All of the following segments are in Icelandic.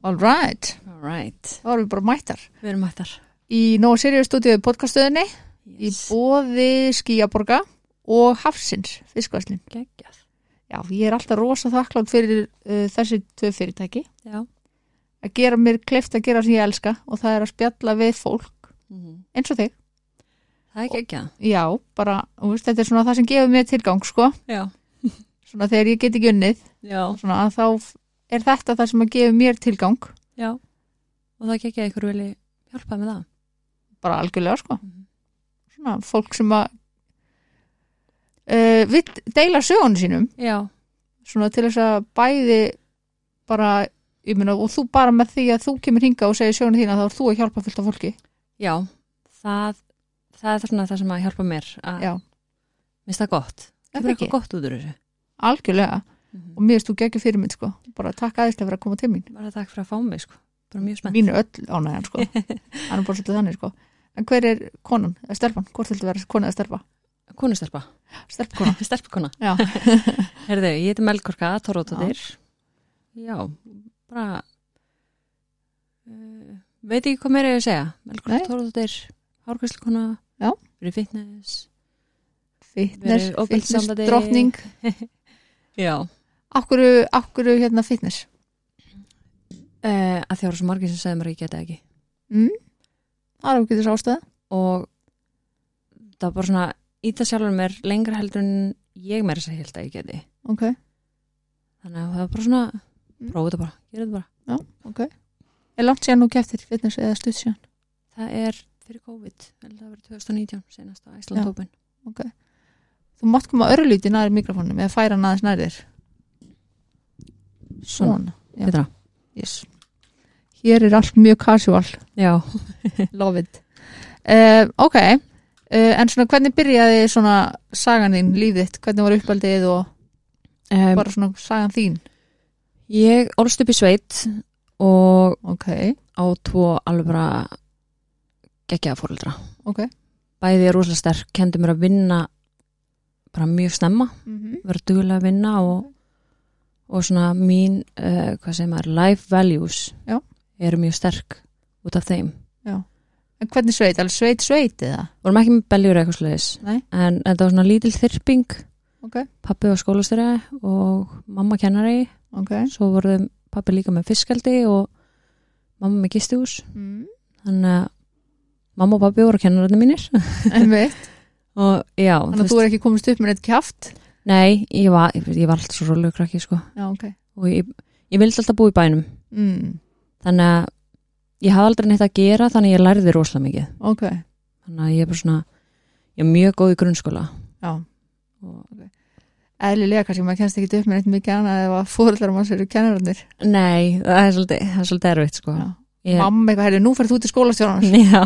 All right, All right, þá erum við bara mættar við erum mættar í Nóa Sirius stúdíu podcaststöðinni í yes. bóði Skíaborga og Hafsins fiskvæslin. Geggjað Já, ég er alltaf rosa þakklátt fyrir uh, þessi tvö fyrirtæki Já að gera mér kleift að gera það sem ég elska og það er að spjalla við fólk Mm-hmm. eins og þig. Það er geggjað Já, bara, þú veist, þetta er svona það sem gefur mér tilgang, sko, Já, svona þegar ég get ekki unnið, já, svona að þá er þetta það sem að gefa mér tilgang, já Og það geggjað ykkur vilji hjálpa með það bara algjörlega, sko. Mhm. Svona fólk sem að uh, við deila sögunum sínum Já, svona til þess að bæði bara, ég meina, og þú bara með því að þú kemur hinga og segir sjónu þína þá er þú að hjálpa fullt af fólki. já, það, það er svona það sem að hjálpa mér að Já. minnst það gott Er Það það er ekki? eitthvað gott út úr þessu Algjörlega. Mhm. Og mér erst þú geggjur fyrir minn, sko. Bara takk aðeinslega fyrir að koma til mín. Bara takk fyrir að fá mig sko, bara mjög spennt Mín er öll ánægjan, sko. Hann er bara svolítið þannig, sko. En hver er konan, eða stelpan? Hvort viltu vera kona eða stelpa? Konustelpa, Stelpkona. stelpkona Já. Herðu, ég heiti Melkorka Tórótóttir Já, bara uh, veit ekki hvað meira ég að segja Melkorka Nei. Tórótóttir Hárkvæslukona Já. Fyrir fitness Fitness, Verið ofbeldi fitness, sambandi. drottning. Já Akkur, akkur, hérna, fitness. uh, Að þjára svo margir sem segði mér að ég geta ekki Mm? Það er okkur þess ástæða. Og það var bara svona Íta sjálfur mér lengra heldur en ég meira þess að held að ég geti Ok, Þannig að það var bara svona Mm. Prófa þetta bara, gera þetta bara ok. Er langt síðan nú keftir fitness eða stutt síðan? Það er fyrir COVID held að það verið 2019 senast á Ísland Open Þú mátt koma örlíti næri mikrofónum eða færa hann aðeins nær þér. Svona, Svona. já. betra Yes. Hér er allt mjög casual. Já, Love it. Uh, ok, uh, en svona hvernig byrjaði svona sagan þín, lífið þitt? Hvernig var uppaldið og um, bara svona sagan þín? Ég ólst upp í sveit og Ok, á tvo alveg bara geggjaða fóreldra. ok. Bæði er rosalega sterk, kendi mér að vinna bara mjög snemma, Mm -hmm. vera dugulega að vinna og, og svona mín, uh, hvað segir maður, life values Já. eru mjög sterk út af þeim. En hvernig sveit? Alveg sveit, sveit eða? Vorum ekki með beljur eitthvað sliðis, Nei. en þetta var svona lítil þyrping, Ok, pappi var skólastyrja og mamma kennari, ok. svo voruðum pappi líka með fiskaldi og mamma með gistihús. Mm. þannig að mamma og pappi voru kennararnir mínir En veit, og já, þannig að þú er ekki komist upp með neitt kjaft? nei, ég var, ég, ég var alltaf svo rólegur krakki sko Já, ok. og ég, ég vildi alltaf búa í bænum Mm. þannig að ég hafði aldrei neitt að gera þannig að ég lærði rosalega mikið Ok, þannig að ég er bara svona ég er mjög góð í grunnskóla já. og, Eðlilega kannski, maður kennst ekki upp með neitt mikið annað ef að fóreldrar manns eru kennararnir. nei, það er svolítið, það er svolítið erfitt sko Já. ég, Mamma eitthvað, herri, nú ferð þú til skólastjóðan. já,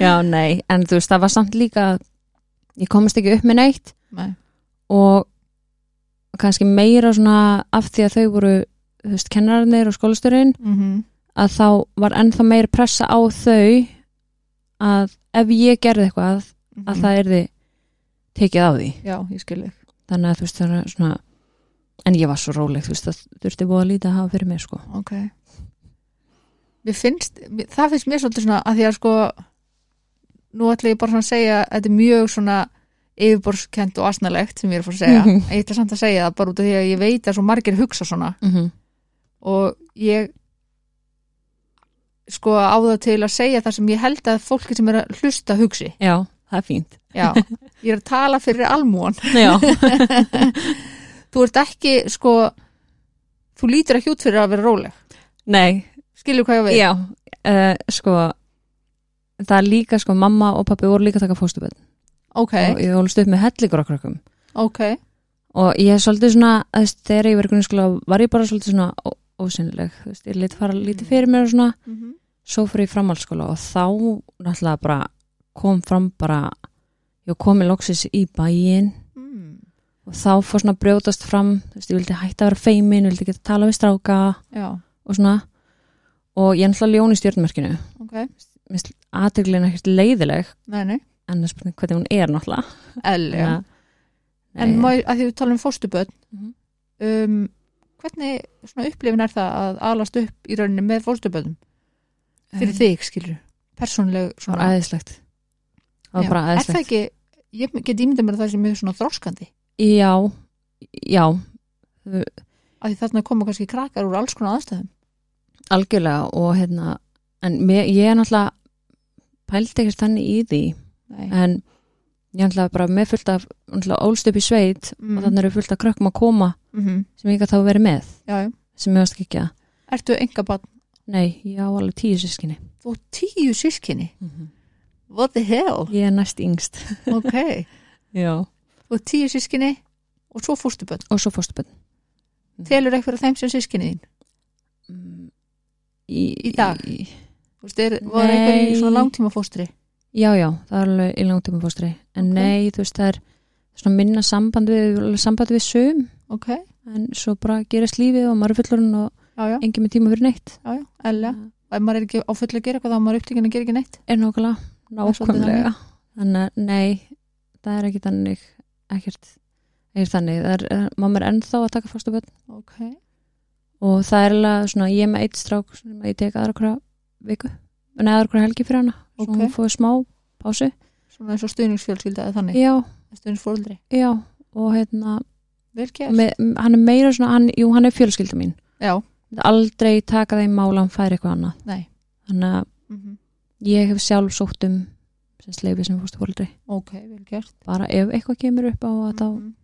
já, nei en þú veist, það var samt líka ég komist ekki upp með neitt Nei, og kannski meira svona af því að þau voru þú veist, kennararnir og skólasturinn mm að þá var ennþá meira pressa á þau að ef ég gerði eitthvað að það erði tekið á því mhm. Já, ég skil þig. þannig að þú veist það er svona en ég var svo róleg þú veist það þurfti búið að líta að hafa fyrir mér sko Ok. Mér finnst, mér- það finnst mér svolítið svona að því að sko, nú ætla ég bara svona að segja að þetta er mjög svona yfirborskend og asnalegt sem ég er að fara að segja. Mhm. En ég ætla samt að segja það bara út af því að ég veit að svo margir hugsa svona mm -hmm. og ég sko á það til að segja það sem ég held að fólki sem er að hlusta hugsi. já, það er fínt Já, ég er að tala fyrir almúan. já, Þú ert ekki, sko, þú lítur ekki út fyrir að vera róleg. nei, Skilur hvað ég á við? já uh, sko það er líka sko mamma og pappi voru líka að taka fóstuböld Ok, og ég hólst upp með hellingur okkur okkur ok. og ég er svolítið svona þú veist, þegar ég var í grunnskóla var ég bara svolítið svona ó- ósynleg þú veist, ég lit fara lítið fyrir mér og svona svo fyrir ég í framhaldsskóla og þá náttúrulega bara kom fram bara ég komi loksins í bæin Mm. og þá fór svona að brjótast fram þú veist, ég vildi hætta að vera feimin, vildi geta að tala við stráka Já, og svona og ég er náttúrulega ljón í stjórnmerkinu ok. aðtöglin ekkert leiðileg Nei, nei. en það er spurning hvernig hún er náttúrulega L, já. Þannig að- En Nei, má, ég- að því við tala um fóstuböld, Mhm. um, hvernig svona upplifin er það að alast upp í rauninni með fólkstöpöðum fyrir þig, skilur persónleg Það var svona æðislegt Það var Já, bara er það æðislegt ekki, ég get ímyndað mér að það sem mjög svona þroskandi Já, já, af því þarna koma kannski krakkar úr alls konar aðstæðum algjörlega og hérna, en mér, ég er náttúrulega pældi ekkert þannig í því Nei. en ég er náttúrulega bara með fullt af náttúrulega ólst upp í sveit Mm. og þannig eru fullt af krökkum að koma mm sem ég gæti þá verið með, já, já. sem ég varst ekki ekki að Ertu engabann, Nei, ég á alveg tíu sískinni þú átt tíu sískinni What the hell? Ég er næst yngst Ok, Já. þú átt tíu sískinni og svo fórstubönd Og svo fórstuböld Telur eitthvað af þeim sem sískinni þín? í, Mm. Í dag? í, Þú veist, er, var eitthvað í Nei. svona langtíma fórstri? Já, já, það er alveg í langtíma fóstri En Ok. nei, þú veist, það er svona minna samband við, samband við sum Ok, en svo bara gerist lífið og maður er fullorinn og já, já, engin með tíma fyrir neitt já, já, ella Ef maður er ekki á fullu að gera eitthvað þá er maður upptíkin að gera ekki neitt er nákvæmlega er svolítið nákvæmlega þannig að nei, það er ekki þannig ekkert, ekkert þannig það er, er, mamma er ennþá að taka fóstuböld Ok, og það er alveg svona ég er með eitt strák sem ég tek aðra hverja viku, neða aðra hverja helgi fyrir hana svo Ok. hún fóði smá pásu svona eins og stuðningsfjölskylda eða þannig, já, stuðningsfóruldri já, og hérna Vel gert, me, hann er meira svona, hann, jú hann er fjölskylda mín já, Myndi aldrei taka þeim mála hann fær eitthvað annað nei þannig að mm -hmm. ég hef sjálf sótt um sem sleifi sem fórstu fóldri Ok, vel gert bara ef eitthvað kemur upp á að þá Mhm.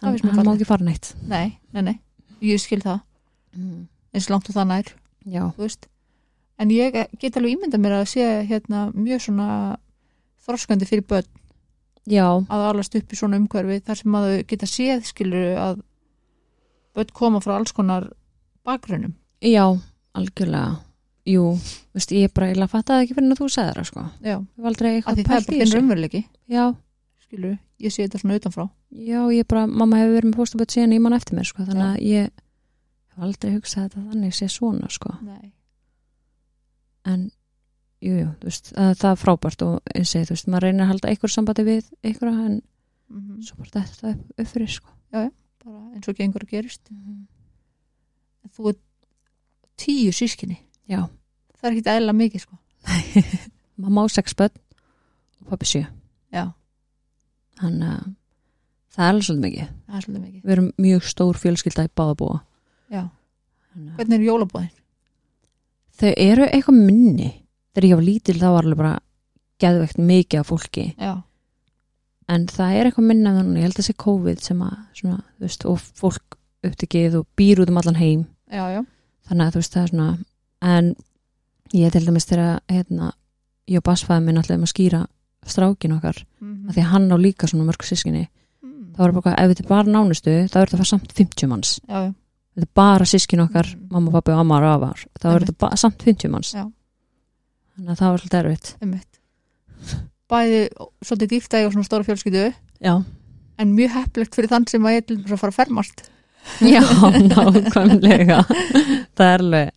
Það hann, finnst mér hann má fallegt. ekki fara neitt Nei, nei, nei, ég skil það eins langt og það nær, já, þú veist en ég get alveg ímyndað mér að sé hérna mjög svona þroskandi fyrir börn já, að alast upp í svona umhverfi þar sem að þau geta séð skilur að börn koma frá alls konar bakgrunum já, algjörlega jú, veist, ég bara ég fattaði ekki fyrir en að þú sagði það sko já, ég var aldrei af eitthvað því það er pælt í bara þinn þessu. raunveruleiki já, skilur, ég sé þetta svona utanfrá já, ég bara, mamma hefur verið með fórstaböld síðan ég mann eftir mér, sko, þannig að ég hef aldrei hugsað þetta þannig sé svona, sko, nei, en jú, jú, þú veist, að, það er frábært og eins og, þú veist, maður reynir að halda einhver sambandi við einhverja, en mm svo bara þetta upp, upp fyrir, sko bara eins og gengur að gerist En þú er tíu sískinni Já. það er ekki eðla mikið sko mamma á sex börn og pappi sjö, já, þannig að það er alveg svolítið mikið, það er svolítið mikið við erum mjög stór fjölskylda í báðabúa já. Þannig að- hvernig eru jólabóðin? þau eru eitthvað minni þegar ég var lítil þá var alveg bara geðveikt mikið af fólki já, en það er eitthvað minna en ég held að sé COVID sem að svona, þú veist, og fólk upptikið og býr út um allan heim já, já, þannig að þú veist það er svona en ég til dæmis þegar hérna, ég og basfæði minn alltaf um að skýra strákin okkar, mm af því að hann á líka svona mörg sískinni, mm. þá var bara eitthvað, ef þetta er bara nánustu, þá er þetta bara samt 50 manns já, já, þetta er bara sískin okkar, Mhm. mamma, pappi og amma og afar, þá er Einmitt. þetta bara samt 50 manns Já. þannig að það var svolítið erfitt einmitt bæði svolítið dýft að ég á svona stóra fjölskyldu Já, en mjög heppilegt fyrir þann sem að ég er til dæmis að fara að fermast já, nákvæmlega það er alveg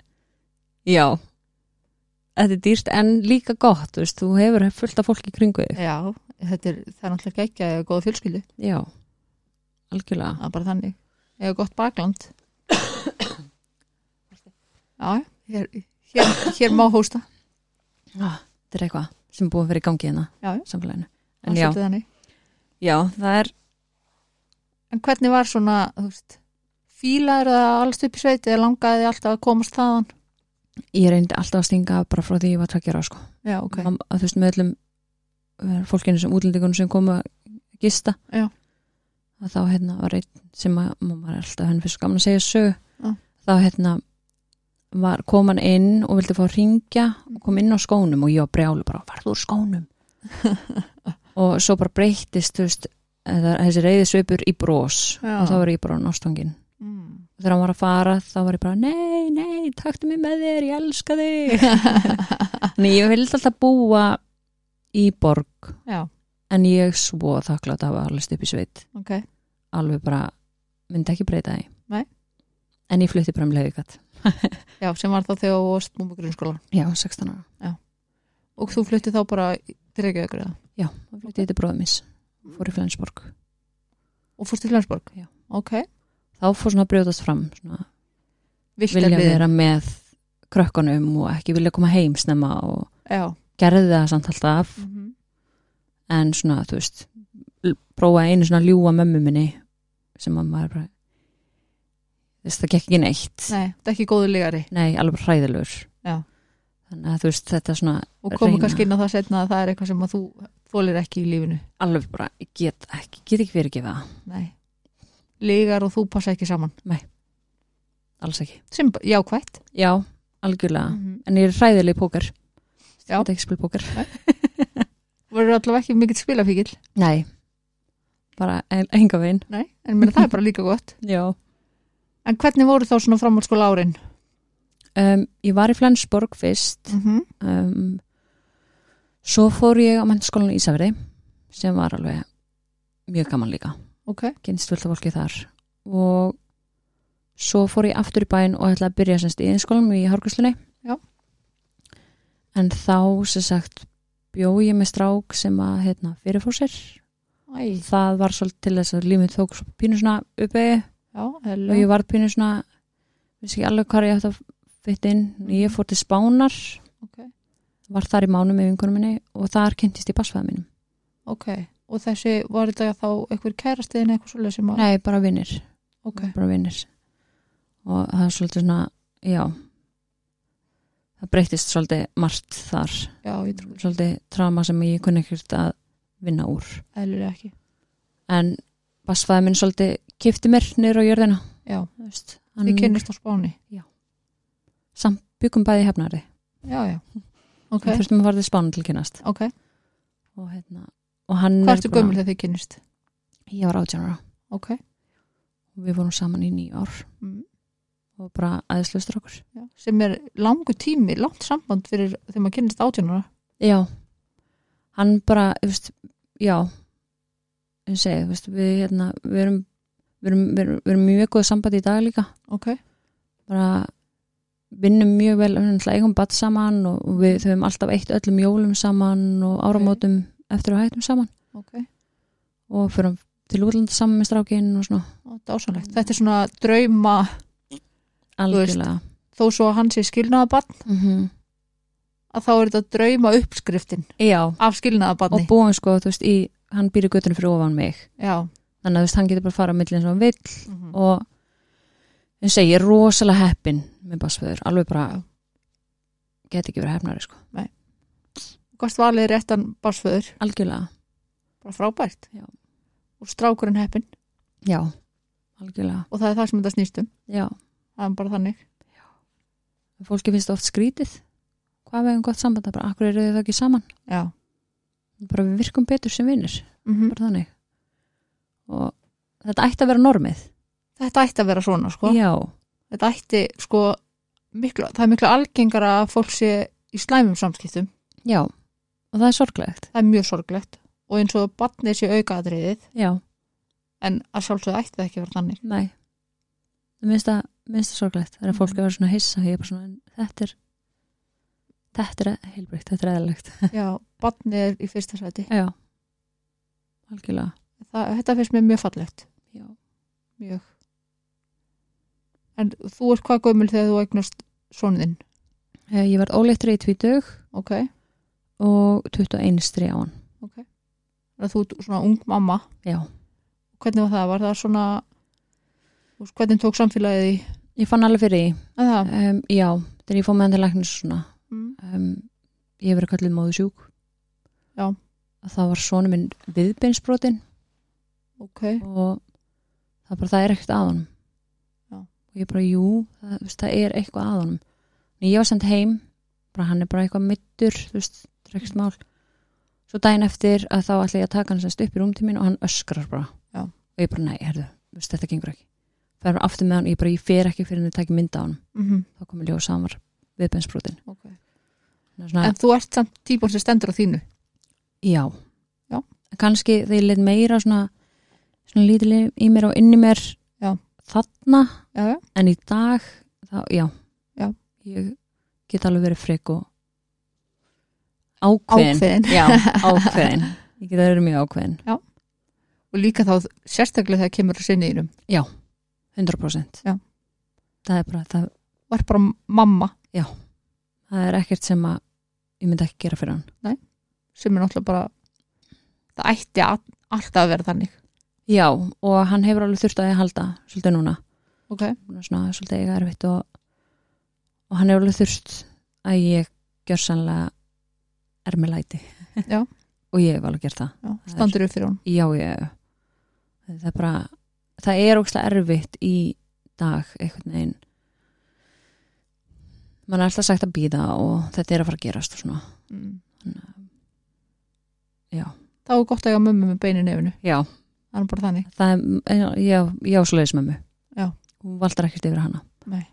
já þetta er dýrst en líka gott þú, veist, þú hefur fullt af fólki í kringu þig já, þetta er, það er náttúrulega ekki að ég er góða fjölskyldu já, algjörlega það er bara þannig, ég er gott bakland já, hér, hér, hér má hósta ah, þetta er eitthvað sem er búið að vera í gangi hérna Já, já. samfélaginu Það er en já, svolítið þannig. já, það er en hvernig var svona þú veist, fílaður það alls upp í sveit eða langaði þig alltaf að komast þaðan ég reyndi alltaf að stinga af bara frá því ég var tveggjara sko. já, ok, Mam- að þú veist með öllum eh, fólkinu sem útlendingunum sem komu að gista Já. að þá hérna var einn sem að mamma er alltaf henni fyrst svo gaman að segja sög Já. þá hérna var, kom hann inn og vildi fá að ringja og kom inn á skónum og ég var brjálu bara varð úr skónum og svo bara breyttist þú veist eða þessi reyði svipur í brós Já. og þá var ég bara nástangin mm. og þegar hann var að fara þá var ég bara nei, nei, taktu mig með þér, ég elska þig Nei, ég vildi alltaf búa í borg já, en ég svo þakklátt að hafa allast upp í sveit ok alveg bara, myndi ekki breyta því Nei. en ég flutti bara um leiðigat já, sem var þá þegar þú varst búin með grunnskóla já, 16 ára og þú flutti þá bara til Reykjavíkur eða? já, þá flutti ég til bróðumins, fór í Flensborg og fórst til Flensborg Já. ok, þá fór svona að brjóðast fram svona, villt er vilja við vera með krökkunum og ekki vilja koma heim snemma og já, gerði það samt alltaf mm -hmm. en svona, þú veist l- prófaði einu svona að ljúga mömmu minni sem að maður bara þú veist, það gekk ekki neitt nei, það er ekki góðu lígari nei, alveg bara hræðilegur Já. þannig að þú veist, þetta er svona og koma Reyna. kannski inn á það setna að það er eitthvað sem að þú þólir ekki í lífinu alveg bara, ég get ekki, get ekki verið ekki það nei, lígar og þú passa ekki saman alls ekki, sem bara- jákvætt já, algjörlega mm en ég er hræðileg í póker Já. Ég get ekki spil póker voru allavega ekki mikill spilafíkil nei, bara enga veginn nei, en meina, það er bara líka gott já en hvernig voru þá svona framhaldsskóla árin um, ég var í Flensborg fyrst mm -hmm. um, svo fór ég á mentaskólan í Ísafri sem var alveg mjög gaman líka ok, kynst fullt af fólki þar og svo fór ég aftur í bæinn og ætlaði að byrja semst í einskólanum í Hárgurslunni Já. en þá sem sagt bjó ég með strák sem að hérna, fyrirfór sér Æ, það var svolítið til þess að límið tók svo pínu svona uppegi já, og hello, ég varð pínu svona vissi ekki alveg hvað ég átt að fytta inn ég fór til Spánar Ok. var þar í mánu með vingunum minni og þar kynntist ég basfæða mínum ok og þessi, var þetta þá eitthvað kærastiðin eitthvað svolítið sem að nei, bara vinnir ok, bara vinnir og það er svolítið svona, já það breytist svolítið margt þar já, ég trúi svolítið trama sem ég kunni ekkert að vinna úr eðlilega ekki, en basfæða minn svolítið kifti mér niður á jörðina já, þú veist, þið hann kynnist á spáni samt byggum bæði í hefnari já, já, ok, okay. þurftum að fara til Spánu til að kynnast ok og, hérna, og hann hvað er ertu búinn að- gömul þegar þið kynnist ég var átjánara ok, og við vorum saman í nýju ár mm. og bara aðeinslustur okkur já. sem er langu tími, langt samband fyrir þegar maður kynnist átjónara já, hann bara þú veist, já ég segi, þú veist, við, hérna, við erum við erum, við erum, við erum mjög góð sambandi í dag líka ok, bara vinnum mjög vel við náttúrulega eigum bat saman og og við höfum alltaf eitt öllum jólum saman og áramótum eftir að hættum saman ok, og fyrir til útlanda saman með strákinn og svona þetta er ásannlegt Mm. þetta er svona drauma, veist. algjörlega þó svo að hann sé skilnaðabann mm að þá er þetta drauma uppskriftin já, af og skilnaðabanni búin sko, þú veist, í, hann býr í göttunum fyrir ofan mig já, þannig að þú veist, hann getur bara að fara að milli eins og hann vill Mhm. og ég segi, ég er rosalega heppin með basföður, alveg bara Já. get ekki verið hefnari sko, gast valið réttan basföður, algjörlega bara frábært Já. og strákurinn heppin já, algjörlega, og það er það sem þetta snýstum, já það er bara þannig fólki finnst oft skrítið hvað við hefum gott samband, það er bara, akkur eru þau ekki saman já, bara við virkum betur sem vinnir mm bara þannig og þetta ætti að vera normið þetta ætti að vera svona sko já, þetta ætti sko miklu, það er miklu algengara að fólk sé í slæmum samskiptum, já og það er sorglegt, það er mjög sorglegt og eins og barnið sé aukaðriðið já en að sjálfsögðu ætti það ekki að vera þannig Nei, það minnst að minnst að sorglegt, það er að fólk að vera svona hissa ég er bara svona, en þetta er þetta er heilbrygt, þetta er eðalegt já, barnið er í fyrsta sæti já, algjörlega það, þetta finnst mér mjög fallegt já. mjög en þú ert hvað gömul þegar þú eignast sonðinn, Eh, ég verð óleittri í tvítug ok og 21 stri á hann Þannig að þú ert svona ung mamma já, hvernig var það, var það svona þú veist, hvernig tók samfélagið í ég fann alveg fyrir því að það, um, já, þegar ég fór með hann til læknis og svona mm. um, ég hef verið kallið móðu sjúk Já. að það var svona minn viðbeinsbrotin ok og það bara, það er ekkert að honum Já. og ég bara, jú, það, þú veist, það er eitthvað að honum en ég var send heim bara hann er bara eitthvað middur þú veist, drekst mál svo daginn eftir að þá ætla ég að taka hann semst upp í rúmtímin og hann öskrar bara Já. og ég bara, nei, herðu, þú veist, þetta gengur ekki fer bara aftur með hann, ég bara, ég fer ekki fyrir hann að taka mynda á hann, mm þá komið ljóð samar viðbensbrotin ok svona, En þú ert samt típan sem stendur á þínu. já. Já. kannski þegar ég leitt meira svona, svona lítið í mér og inni mér Já. þarna Já, já. en í dag þá, já, Já. ég get alveg verið frek og ákveðin Ákveðin. já, ákveðin, ég get alveg verið mjög ákveðin Og líka þá sérstaklega þegar kemur að sinni ínum. 100% Já. það er bara, það, var bara mamma það er ekkert sem að ég myndi ekki gera fyrir hann sem er náttúrulega bara það ætti að, alltaf að vera þannig já, og hann hefur alveg þurft að ég halda svolítið núna, ok, Hún er svona, svolítið eiga erfitt og, og hann hefur alveg þurft að ég gjör sannlega er með læti Já. og ég hef alveg gert það já, standur upp fyrir hún já, já, já. það er bara það er ógstlega erfitt í dag einhvern veginn mann er alltaf sagt að býða og þetta er að fara að gerast og svona mm. Þannig að- já, þá er gott að ég á mömmu með beinu nefnu já, það er bara þannig það er já, já, svoleiðis mömmu Já. hún valdar ekkert yfir hana Nei.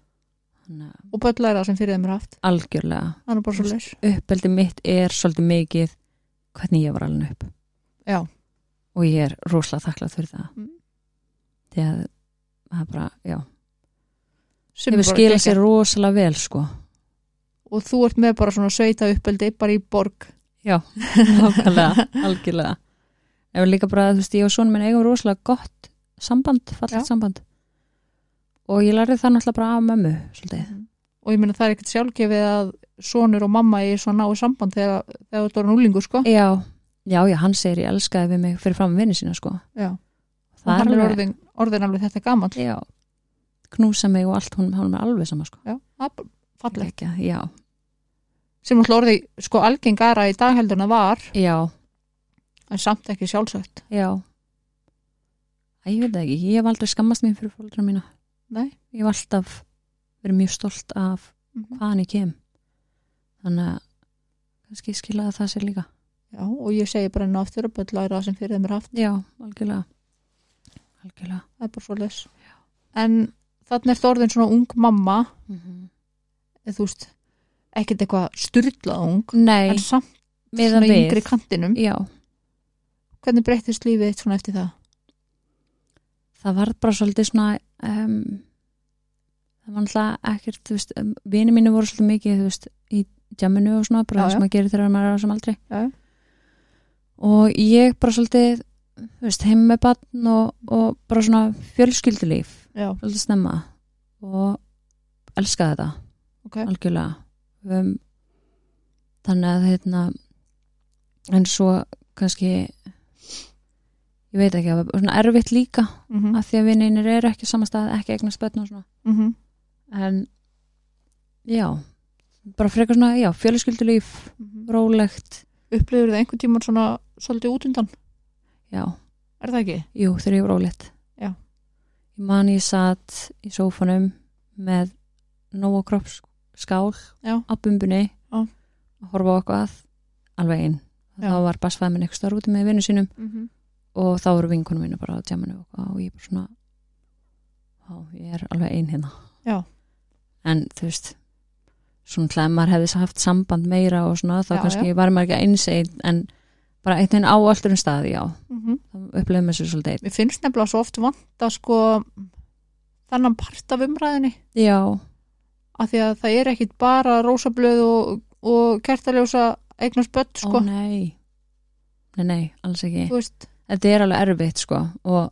Þannig að og böll er það sem fyrir þeim er haft algjörlega það er bara svo leys uppeldi mitt er svolítið mikið hvernig ég var alveg upp Já. og ég er rosalega þakklátt fyrir það Mm. því að það er bara, já sem er hefur bara skilað geggjað. sér rosalega vel sko og þú ert með bara svona sveita uppeldi bara í borg já, nákvæmlega, algjörlega ef líka bara, þú veist, ég og svona minn eigum rosalega gott samband, Já. fallegt samband og ég lærði það náttúrulega bara af mömmu svolítið, og ég meina það er ekkert sjálfgefið að sonur og mamma í svona náu samband þegar, þegar þú er núlingu sko já, já, já, hann segir ég elskaði við mig fyrir fram vinni sína sko já, það og hann er alveg- Eh. orðin, orðin alveg þetta gamall já, knúsa mig og allt hún, hún er alveg sama sko já, það er bara fallegt Ekki, já, sem alltaf orði sko algengara í dag heldur en það var já, en samt ekki sjálfsögt já Æ, ég veit það ekki, ég hef aldrei skammast mín fyrir fólkina mína Nei. ég hef alltaf verið mjög stolt af Mhm. hvaðan ég kem þannig að kannski skilaði það sér líka já, og ég segi bara enn og aftur að böll læra það sem fyrir þeim er haft já, algjörlega algjörlega það er bara svo les en þannig ertu orðin svona ung mamma Mhm. eða þú veist, ekkert eitthvað styrlað ung nei, en samt með svona að í við yngri kantinum já, hvernig breyttist lífið þitt svona eftir það? það var bara svolítið svona um, það var alltaf ekkert, þú veist, um, vini mínu voru svolítið mikið, þú veist, í jamminu og svona, Já, bara það já. sem maður gerir þegar maður er á þessum aldrei Já. og ég bara svolítið, þú veist, heim með batn og, og bara svona fjölskyldulíf Já, svolítið snemma og elskaði þetta ok, algjörlega um, þannig að hérna en svo kannski ég veit ekki, það var svona erfitt líka mhm, af því að vinninir eru ekki á sama stað, ekki eignast börn og svona mhm en já, bara frekar svona já, fjöluskyldu mhm. rólegt upplifur þið einhvern tímann svona svolítið út undan, já, er það ekki? jú, þegar ég var rólegt Já. ég man ég satt í sófanum með nógu kroppsskál Já. á bumbunni Já. að horfa á eitthvað alveg einn Já. þá var basfæðminn eitthvað starf úti með vinnu sínum Mhm. og þá voru vinkunum mínu bara á tjámanu og, eitthvað og ég bara svona já, ég er alveg ein hérna Já. en þú veist svona til að maður hefði haft samband meira og svona þá Já, kannski var maður ekki eins einn en bara einhvern veginn á allturum staði já, mhm. þá upplegum við sér svolítið Mér finnst nefnilega svo oft vanta sko þannan part af umræðinni einn já, af því að það er ekkit bara rósablöð og, og kertaljósa eignast börn sko, ó nei nei, nei, alls ekki þú veist þetta er alveg erfitt sko og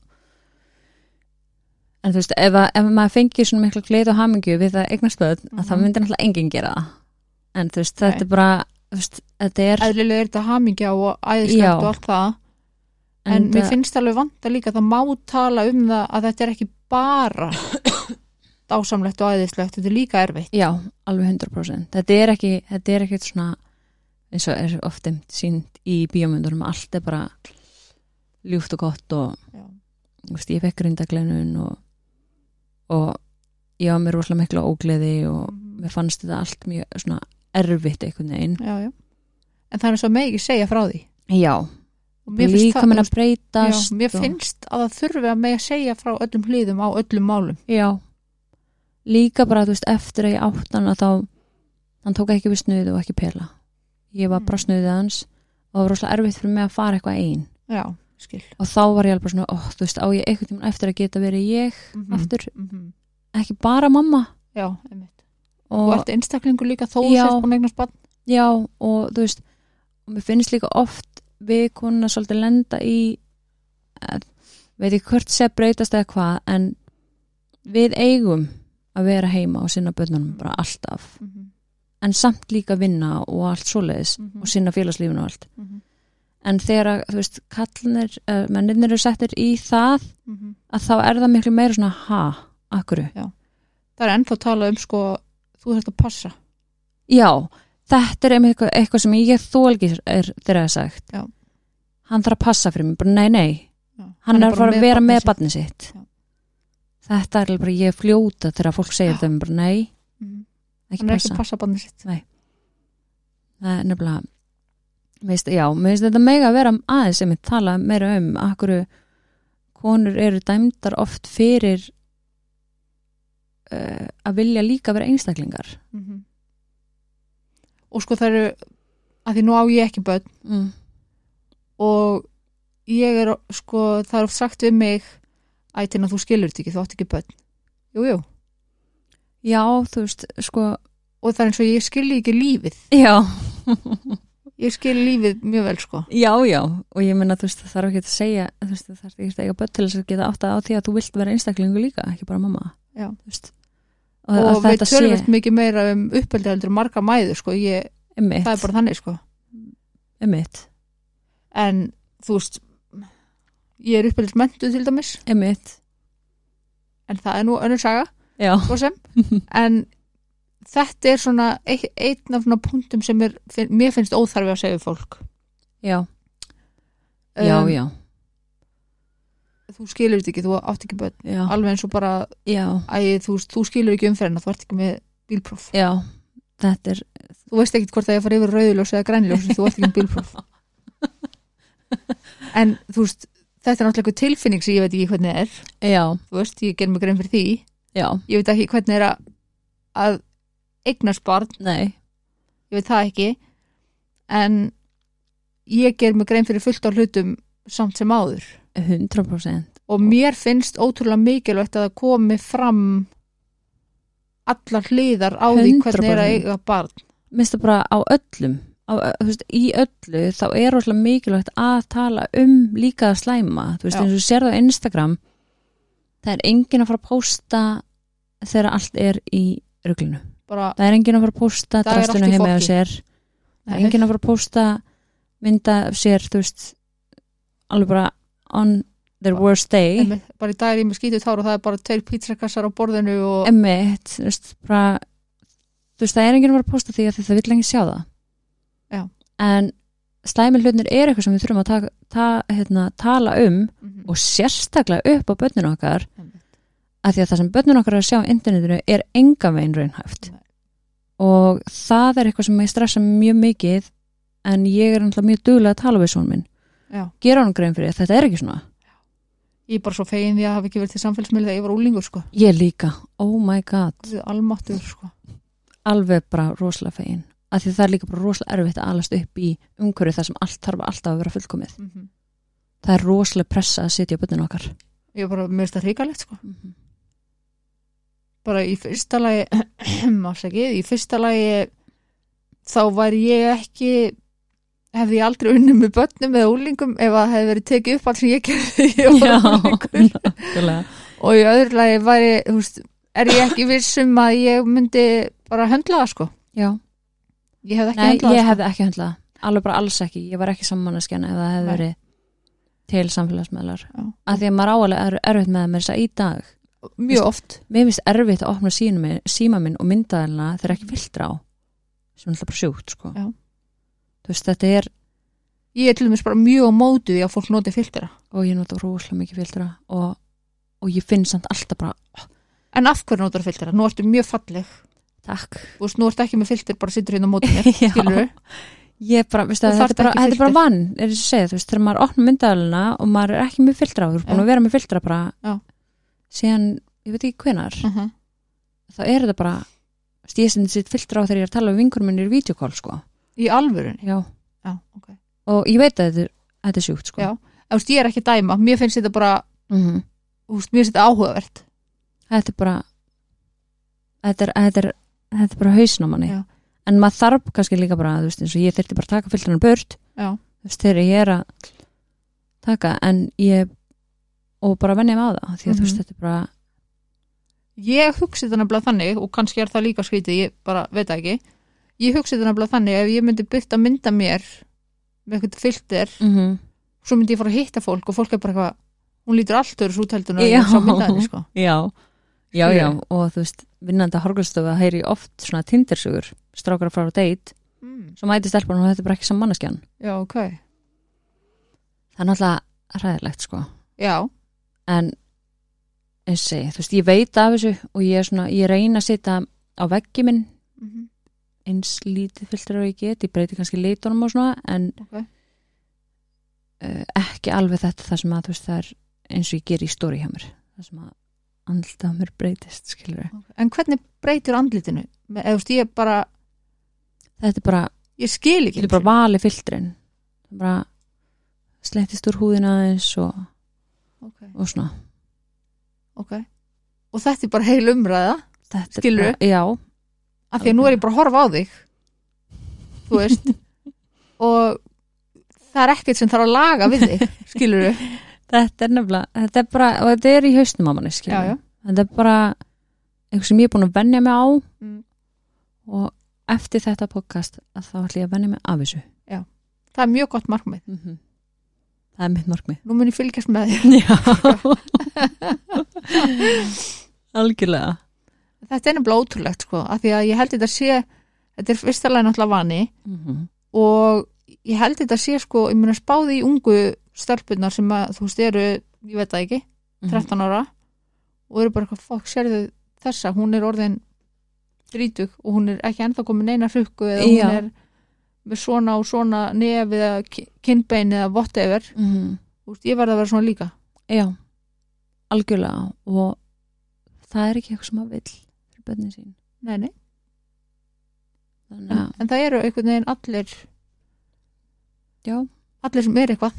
en þú veist, ef, að, ef maður fengir svona mikla gleð og hamingju við það eignast böðn að það Mhm. myndir náttúrulega enginn gera það en þú veist, þetta Nei. er bara þú veist, þetta er, eðlilega er þetta hamingja og Já. æðislegt og allt það en, en, uh, mér það- finnst alveg vanta líka að það má tala um það að þetta er ekki bara dásamlegt og æðislegt, þetta er líka erfitt já, alveg 100% þetta er ekki, þetta er ekkert svona eins og er ofte sínt í bíómyndurum, allt er bara ljúft og gott og Já. þú veist, ég fekk rindaglenun og, og ég var mér rosalega mikla ógleði og Mhm. mér fannst þetta allt mjög svona erfitt einhvern veginn já, já. en það er svo megi segja frá því Já, og mér finnst, líka það, minn já, að breytast mér og- finnst að það þurfi að megi segja frá öllum hliðum á öllum málum Já, líka bara, þú veist, eftir að ég átt hann að þá hann tók ekki við snuðu og ekki pela Ég var bara Mm. snuðið hans og það var rosalega erfitt fyrir mig að fara eitthvað ein já, skil og þá var ég alveg bara svona, ó, þú veist, á ég einhvern tímann eftir að geta verið ég Mhm. aftur, mm ekki bara mamma já, einmitt og og, allt einstaklingu líka þó Já. sérst búin að eignast bann já, og þú veist og mér finnst líka oft við kunna svolítið lenda í að, veit ekki hvort sé að breytast eða hvað en við eigum að vera heima og sinna börnunum bara alltaf en samt líka vinna og allt svoleiðis Mm. og sinna félagslífinu og allt en þegar að, þú veist, kallinir uh, menninir eru settir í það Mhm. að þá er það miklu meira svona ha, akkur það er ennþá talað um sko þú þarfst að passa já, þetta er einmitt eitthvað, eitthvað sem ég þólgi er þegar það er sagt Já. hann þarf að passa fyrir mig, bara nei, nei Já. hann, er bara að vera barnið með sitt. barnið sitt Já. þetta er alveg bara ég fljóta þegar fólk segir þeim bara nei, Mhm. ekki hann er ekki passa að passa barnið sitt það er nefnilega veist, já, mér finnst þetta mega að vera aðeins sem ég tala meira um akkur konur eru dæmdar oft fyrir uh, að vilja líka vera einstaklingar Mhm. og sko það eru að því nú á ég ekki börn mm. og ég er sko það er oft sagt við mig ætina þú skilur þetta ekki, þú átt ekki börn jújú, jú. já, þú veist, sko og það er eins og ég skilji ekki lífið já, ég skil lífið mjög vel sko já, já og ég meina, þú veist, það þarf ekki að segja þú veist, það þarf ekki að eiga börn til þess að geta áttað á því að þú vilt vera einstaklingu líka, ekki bara mamma Já. þú veist og, og, og að við þetta sé, tölvöld mikið meira um uppeldi heldur en marga mæður sko, ég, það er emitt, bara þannig sko emitt en þú veist ég er uppeldið mentu til dæmis emitt, en það er nú önnur saga já, svo sem en þetta er svona ein- einn af svona punktum sem er, finn- mér finnst óþarfi að segja við fólk já, já, Um, já þú skilur þetta ekki, þú átt ekki börn já, alveg eins og bara, já, æ, þú, veist, þú skilur ekki umferðina þú ert ekki með bílpróf já þetta er, þú veist ekkit hvort það er að fara yfir rauðljós eða grænljós þú ert ekki um bílpróf en þú veist þetta er náttúrulega einhver tilfinning sem ég veit ekki hvernig er já, þú veist, ég ger mig grein fyrir því já ég veit ekki hvernig er að, að eignast barn, nei, ég veit það ekki en ég ger mig grein fyrir fullt á hlutum samt sem áður 100% og mér finnst ótrúlega mikilvægt að það komi fram allar hliðar á því hvernig er að 100%. eiga barn minnst það bara á öllum á, ö- þú veist, í öllu þá er rosalega mikilvægt að tala um líka að slæma, þú veist, Já. eins og þú sérðu á Instagram það er engin að fara að pósta þegar allt er í ruglinu, bara, það er engin að fara að pósta Það er allt drastuna í heima á fokki. sér það er Nei. engin að fara að pósta mynda af sér, þú veist alveg bara on their worst day Einmitt, bara í dag er ég með skítið tár og það er bara tveir pizzakassar á borðinu og emmitt, þú veist, bara þú veist, það er enginn að vera að posta því að það vill ekki sjá það Já. en slæmi hlutinir er eitthvað sem við þurfum að taka, ta, hérna, tala um Mhm, og sérstaklega upp á börnun okkar einmitt. af því að það sem börnun okkar er að sjá á internetinu er enga veginn raunhæft Nei. og það er eitthvað sem ég stressa mjög mikið en ég er náttúrulega mjög duglega að tala við svona minn Já. gera hann grein fyrir, þetta er ekki svona ég er bara svo fegin því að hafa ekki verið til samfélsmiðli þegar ég var úlingur sko, ég líka, oh my god Guð almáttugur sko alveg bara rosalega fegin af því það er líka bara rosalega erfitt að alast upp í umhverju þar sem allt þarf alltaf að vera fullkomið Mhm. það er rosalega pressa að sitja á bönninu okkar ég er bara, mér finnst það hrikalegt sko bara í fyrsta lagi afsakið, í fyrsta lagi þá var ég ekki hefði ég aldrei unnið með börnum eða úlingum ef að hefði verið tekið upp allt sem ég gerði þegar ég var úlingur. nákvæmlega og í öðru lagi var ég, þú veist, er ég ekki viss um að ég myndi bara höndla það sko já, ég hefði ekki sko. nei, höndlað ég það hefði ekki höndlað alveg bara alls ekki, ég var ekki sammannaskjana ef það hefði Nei. verið til samfélagsmeðlar Já. af því að maður áalega er erfitt með það með þess að í dag sko, mjög oft mér finnst erfitt að opna síma minn, síma minn og myndaðalina þegar ekki viltra á sem er alltaf bara sjúkt sko Já. þú veist, þetta er ég er til dæmis bara mjög á mótu því að fólk noti filtera og ég nota rosalega mikið filtra og, og ég finn samt alltaf bara En af hverju notar filtera? Nú ertu mjög falleg takk Þú veist, nú ertu ekki með filter, bara sittur hérna á móti mér Já. Skilur ég bara, veistu, Þú að þarft þetta, er bara, ekki þetta er bara filter. vann er þess að segja, þú veist, þegar maður opna myndavæluna og maður er ekki með filtra, þú er búin Já. að vera með filtra bara Já. síðan, ég veit ekki hvenar -huh. þá er þetta bara þú veist, ég sem sitt filtra á þegar ég er að tala við vingur minni í videokól, sko Í alvörunni Já. Já, ok og ég veit að þetta er, þetta er sjúkt, sko Já. Þú veist, ég er ekki að dæma, mér finnst þetta bara Mhm. Þú veist, mér finnst þetta áhugavert þetta er bara þetta er, þetta er, þetta er bara hausn á manni Já. en maður þarf kannski líka bara, þú veist, eins og ég þyrfti bara að taka filtrana burt Já, þú veist, þegar ég er að taka en ég og bara venja mig á það því að þú veist, Mhm. þetta er bara ég hugsi það nefnilega þannig og kannski er það líka skrítið, ég bara veit það ekki ég hugsi það nefnilega þannig ef ég myndi byrta að mynda mér með eitthvað filter, mm svo myndi ég fara að hitta fólk og fólk er bara eitthvað, hún lítur allt öðru svo teltun og Já. ég sá myndaðinni sko Já, já, Skilurðu? já og þú veist, vinnandi horgulstofu að heyri oft svona tindirsugur, strákar að fara á date mm, svo mæti stelpunum og þetta er bara ekki saman manneskjan já, ok, það er náttúrulega ræðilegt sko já en eins og segi, þú veist, ég veit af þessu og ég er svona, ég reyna að sitja á veggi minn mm eins lítið filter og ég get, ég breyti kannski leitunum og svona, en ok, uh, ekki alveg þetta það sem að þú veist, það er eins og ég ger í stóri hjá mér, það sem að andlita á mér breytist, skilur ok. en hvernig breytur andlitinu Me- eða þú veist, ég bara, þetta er bara, ég skil ekki þetta er bara valið filtrin það er bara slettist úr húðina aðeins og, Ok, og svona ok og þetta er bara heil umræða Þetta er Skilurðu? bara- Já, af því að nú er ég bara að horfa á þig þú veist og það er ekkert sem þarf að laga við þig skilur þau þetta er nefnilega þetta er bara, og þetta er í haustum á manni skilur já, já. þetta er bara eitthvað sem ég er búin að vennja mig á Mm. og eftir þetta podcast að þá ætlum ég að vennja mig af þessu það er mjög gott markmið, Mhm. það er mitt markmið nú mun ég fylgjast með þér já algjörlega þetta er nefnilega ótrúlegt sko, af því að ég held þetta sé þetta er fyrsta lagi náttúrulega vani Mhm. og ég held þetta sé sko, ég mun að spáði í ungu stelpunar sem að þú veist eru, ég veit það ekki Mhm. 13 ára og eru bara eitthvað, fokk, sérðu þessa hún er orðin drítug og hún er ekki ennþá komin neina hrukku eða hún Já. er með svona og svona nef eða ki- kinnbein eða whatever, -hmm. Þú veist, ég verði að vera svona líka já algjörlega og það er ekki eitthvað sem að vill fyrir bönni sín nei, nei. þannig En, að, en það eru einhvern veginn allir já, allir sem er eitthvað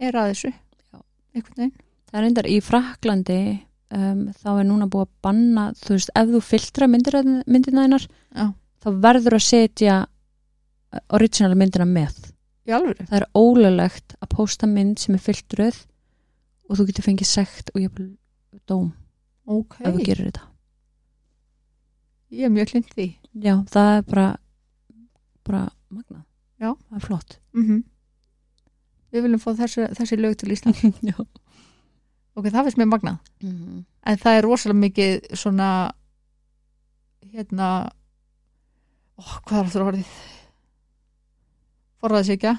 er að þessu Já. einhvern veginn, það er reyndar í Fraklandi um, þá er núna búið að banna þú veist, ef þú filtra myndir, myndina einar Já. þá verður að setja uh, original myndina með í alvöru það er ólulegt að posta mynd sem er filtruð og þú getur fengið sekt og jafnvel dóm ok, ef þú gerir þetta ég er mjög hlind því já, það er bara bara magna Já. það er flott mm við viljum fá þessi, þessi lög til Ísland já. ok, það finnst mér magnað en það er rosalega mikið svona hérna ó, hvað er aftur orðið forðaðis ekki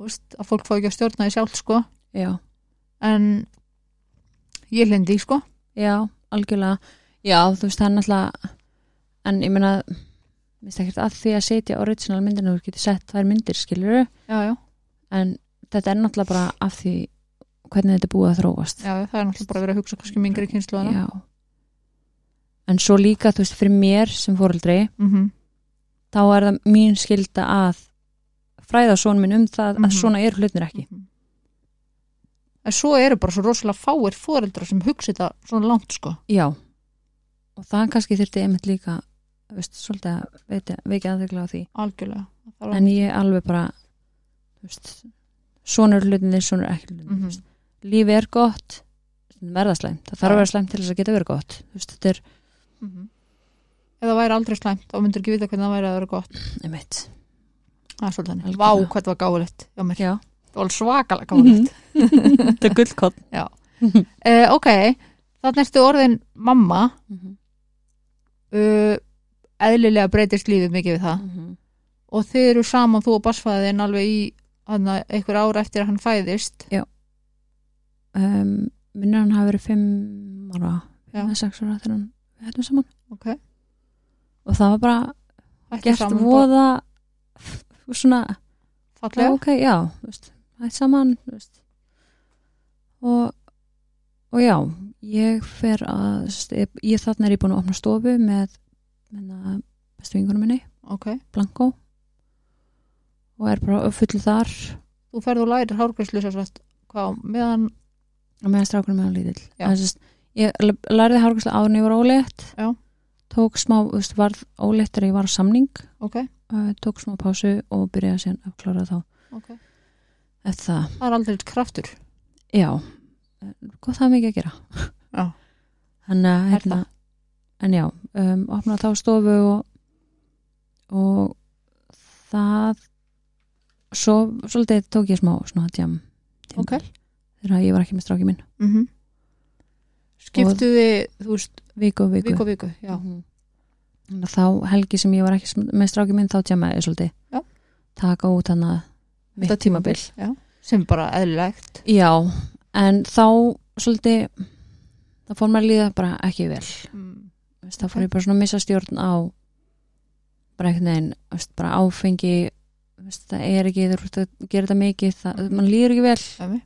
veist, að fólk fá ekki að stjórna því sjálf sko já, en ég hlindi sko já, algjörlega já, þú veist, það er náttúrulega en ég meina minnst ekkert að því að setja original myndina þú getur sett þær myndir, skilur já, já, en þetta er náttúrulega bara af því hvernig þetta er búið að þróast já, það er náttúrulega bara að vera að hugsa kannski um mingri kynslu hana Já. en svo líka, þú veist, fyrir mér sem fóreldri mm -hmm. þá er það mín skilda að fræða son minn um það Mhm. að svona eru hlutinir ekki en svo eru bara svo rosalega fáir foreldrar sem hugsa þetta svona langt sko já og það kannski þyrfti einmitt líka þú veist, svolítið að veitja, vekja aðtegla á því algjörlega Það var- en ég alveg bara þú veist, svona eru hlutinir, svona eru ekki hlutinir Mhm. lífi er gott stundum er það slæmt, það þarf Já. að vera slæmt til þess að geta verið gott þú veist, þetta er Mhm. ef það væri aldrei slæmt þá myndur ekki vita hvernig það væri að vera gott einmitt Það er svolítið þannig. Mhm. Vá, Algjörlega. hvað það var gáðilegt hjá mér. já, Það var svakalega gáðilegt. þetta er gullkott Uh, ok, þannig ertu orðin mamma. Mhm. Uh, eðlilega breytist lífið mikið við það. Mhm. Og þið eru saman, þú og basfæðin, alveg í hana, einhver ár eftir að hann fæðist. um, minnir hann hafi verið fimm ára, Já. fimm eða sex ára þegar hann við hættum saman Ok, og það var bara hættu gert voða f- svona, bara já, Fallega. ok, já þú veist, hætt saman þú veist. og og já, ég fer að þú veist, ég, ég þarna er ég búin að opna stofu með minna, bestu vingunum minni, Ok, Blanko og er bara fullu þar þú ferð og lærir hárgræslu sér svolítið. Hvað, meðan, og meðan strákunum meðan lítill Já. Það er sest, ég l- lærði hárgæsla áður en ég var ólétt Já. tók smá, þú veist, varð ólétt þegar ég var á samning ok, uh, tók smá pásu og byrjaði síðan að klára þá ok. eftir það, Það er aldrei kraftur. já Eh, gott það mikið að gera Já. Þannig að, Er hérna, en já, um, opna þá stofu og, og það, svo, svolítið tók ég smá svona djam. Ok. Þegar ég var ekki með stráki minn. mm -hmm. skiptuði þú veist, Viku og viku. viku og viku já, Mhm. Þannig að þá helgi sem ég var ekki sm- með stráki minn, þá djamaði ég svolítið. Já. Taka út hann að mitt Þetta tímabil. tímabil. já. sem er bara eðlilegt Já, en þá svolítið, það fór mér að líða bara ekki vel. mm. Veist, þá Ok. fór ég bara svona að missa stjórn á bara einhvern veginn, veist, bara áfengi, veist, það er ekki, þú ert að gera þetta mikið, það, mann líður ekki vel dæmi.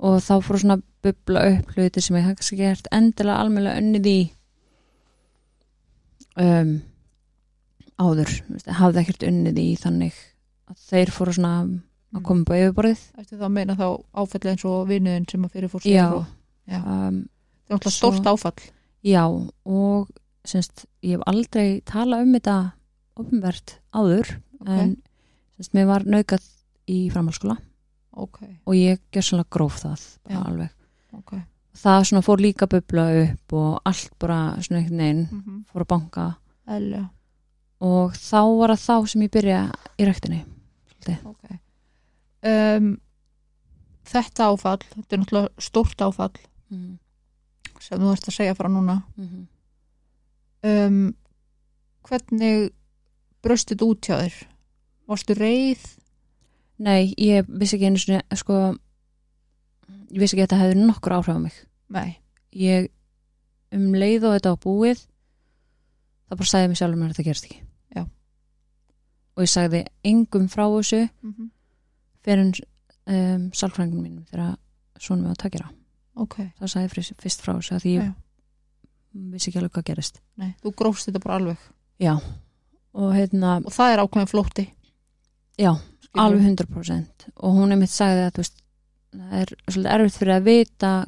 og þá fór svona að bubla upp hluti sem ég hef kannski gert endilega almennilega önnið í um, áður veist, hafði ekkert unnið í þannig að þeir fóru svona Mm. að koma upp á yfirborðið Ertu þá að meina þá áfæll eins og vinuðin sem að fyrir fór Já. og, Já. um, það er alltaf Svo- stórt áfall já og semst, ég hef aldrei talað um þetta ofnvert áður en semst, mér var naukað í framhalskóla ok, og ég gerð svona gróf það bara Já. alveg ok það svona fór líka að bubla upp og allt bara svona einhvern veginn mm -hmm. fór að banka Eðlilega, og þá var það þá sem ég byrja í ræktinni ok um, Þetta áfall þetta er náttúrulega stórt áfall Mhm, mm sem þú ert að segja frá núna um, Hvernig bröstið út hjá þér? Varstu reið? Nei, ég vissi ekki einu sinni sko, ég vissi ekki að þetta hefði nokkur áhrif á mig Nei, ég um leið og þetta á búið þá bara sagði ég mig sjálfur mér að þetta gerst ekki Já. og ég sagði engum frá þessu mm -hmm. fyrir um, sálfrængin mínum þegar svona við að takja á ok þá sagði ég fyrst- fyrst frá þessu að því ég Já. vissi ekki alveg hvað gerist Nei, þú grófst þetta bara alveg og hérna, og það er ákveðin flótti já skilurðu. alveg 100% og hún er mitt sagði að þú veist, það er svolítið erfitt fyrir að vita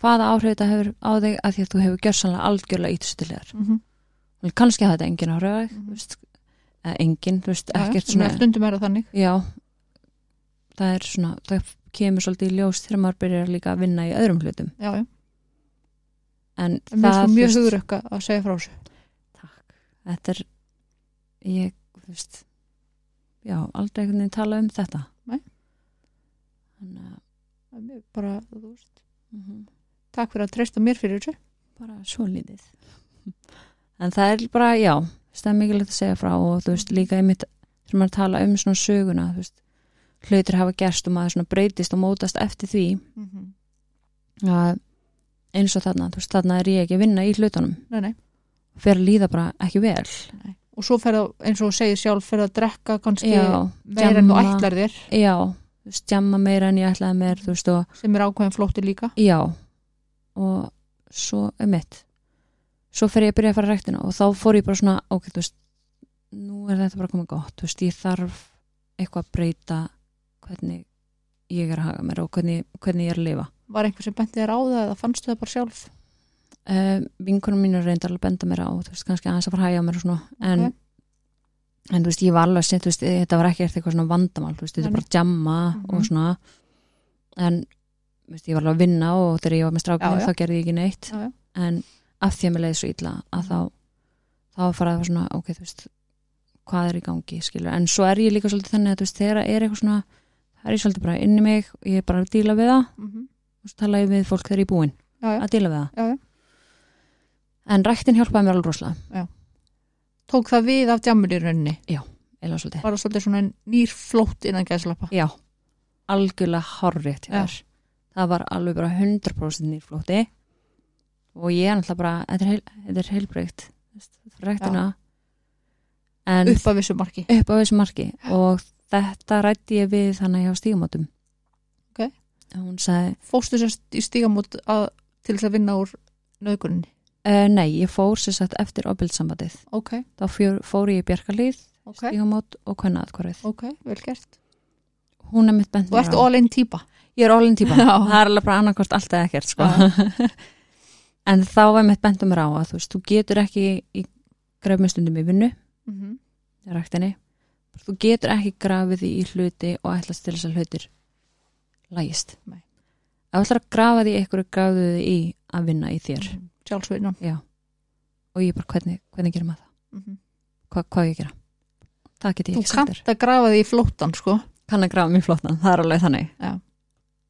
hvaða áhrif þetta hefur á þig að því að þú hefur gjörsanlega algjörlega ítt þessu til þér Mhm, Vel, kannski hafði þetta engin áhrif á þig Mhm. þú veist, eða engin, þú veist, já, já, ekkert svona svona Stundum er það þannig já, það er svona það kemur svolítið í ljós þegar maður byrjar líka að vinna í öðrum hlutum Já, já, en en mér finnst það, þú mjög þú veist, hugurökk að segja frá þessu takk, þetta er ég, þú veist já, aldrei einhvern veginn tala um þetta Nei. þannig að Það er mjög bara, þú veist mhm. Takk fyrir að treysta mér fyrir þessu bara svo lítið en það er bara, já það er mikilvægt að segja frá og þú veist líka einmitt sem maður tala um svona söguna þú veist, hlutir hafa gerst og maður svona breytist og mótast eftir því mm -hmm. Mhm. að eins og þarna, þú veist, þarna er ég ekki að vinna í hlutunum Nei, nei fer að líða bara ekki vel Nei. og svo ferða, eins og þú segir sjálf ferða að drekka kannski já, meira en þú djamma. ætlar þér já, þú veist, jamma meira en ég ætlaði mér þú veist, og sem er ákveðin flótti líka já og svo er mitt svo fer ég að byrja að fara rektina og þá fór ég bara svona, ok, þú veist nú er þetta bara komið gott, þú veist, ég þarf eitthvað að breyta hvernig ég er að haga mér og hvernig, hvernig ég er að lifa var einhver sem benti þér á það eða fannstu það bara sjálf uh, vinkunum mínu reyndar alveg að benda mér á þú veist, kannski aðeins að fara að hægja á mér og svona en, Ok. en þú veist, ég var alveg sett, þú veist, eh, þetta var ekki eitthvað svona vandamál þú veist, þetta Nei, er bara jamma Mhm. og svona en þú veist, ég var alveg að vinna og þegar ég var með Já, strákunum já. þá gerði ég ekki neitt Já, já. en af því að mér leiði svo illa að þá þá var farið að svona, ok, þú veist hvað er í gangi, skilur, en svo er ég líka svolítið þannig að þú veist, þegar er eitthvað svona það er ég svolítið bara inn í mig, ég er bara að díla við það mm -hmm. og svo tala ég við fólk þegar ég er búin já, já. að díla við það Já, já. en ræktin hjálpaði mér alveg rosalega tók það við af djammur í rauninni eða svolítið, bara svolítið svona nýr flótt innan gæðslappa já, algjörlega horrið Já. það var alveg bara 100% nýrflóti og ég er náttúrulega bara þetta er, heil, þetta er heilbreykt ræktina en upp af vissu marki upp á þessu marki og þetta rætti ég við þannig hjá stígamótum Ok. hún sagði, fóstu sérst í stígamót að, til þess að vinna úr nöðgunni uh, nei, ég fór sér satt eftir ofbildsambandið, ok, þá fjör, fór ég í bjarkalíð, ok, stígamót og kvennaðkvarið ok, vel gert hún er mitt bent þú ert all in típa ég er all-in típa, Já. það er alveg bara annarkort alltaf ekkert sko. en þá var mitt bentum mér á að þú veist, þú getur ekki í grafmestundum í vinnu, mm -hmm. í ræktinni þú getur ekki grafið því í hluti og ætlast til þess að hlutir lægist Nei. ef þú ætlar að grafa því einhverju grafuðu þig í að vinna í þér Mm. Mhm. sjálfsvinnan já, og ég bara hvernig, hvernig gerum maður það, Hva, hvað á ég að gera það get ég Mhm. þú ekki sagt þér kannt að grafa því í flóttan sko kann að grafa mér flottan, það er alveg þannig Já.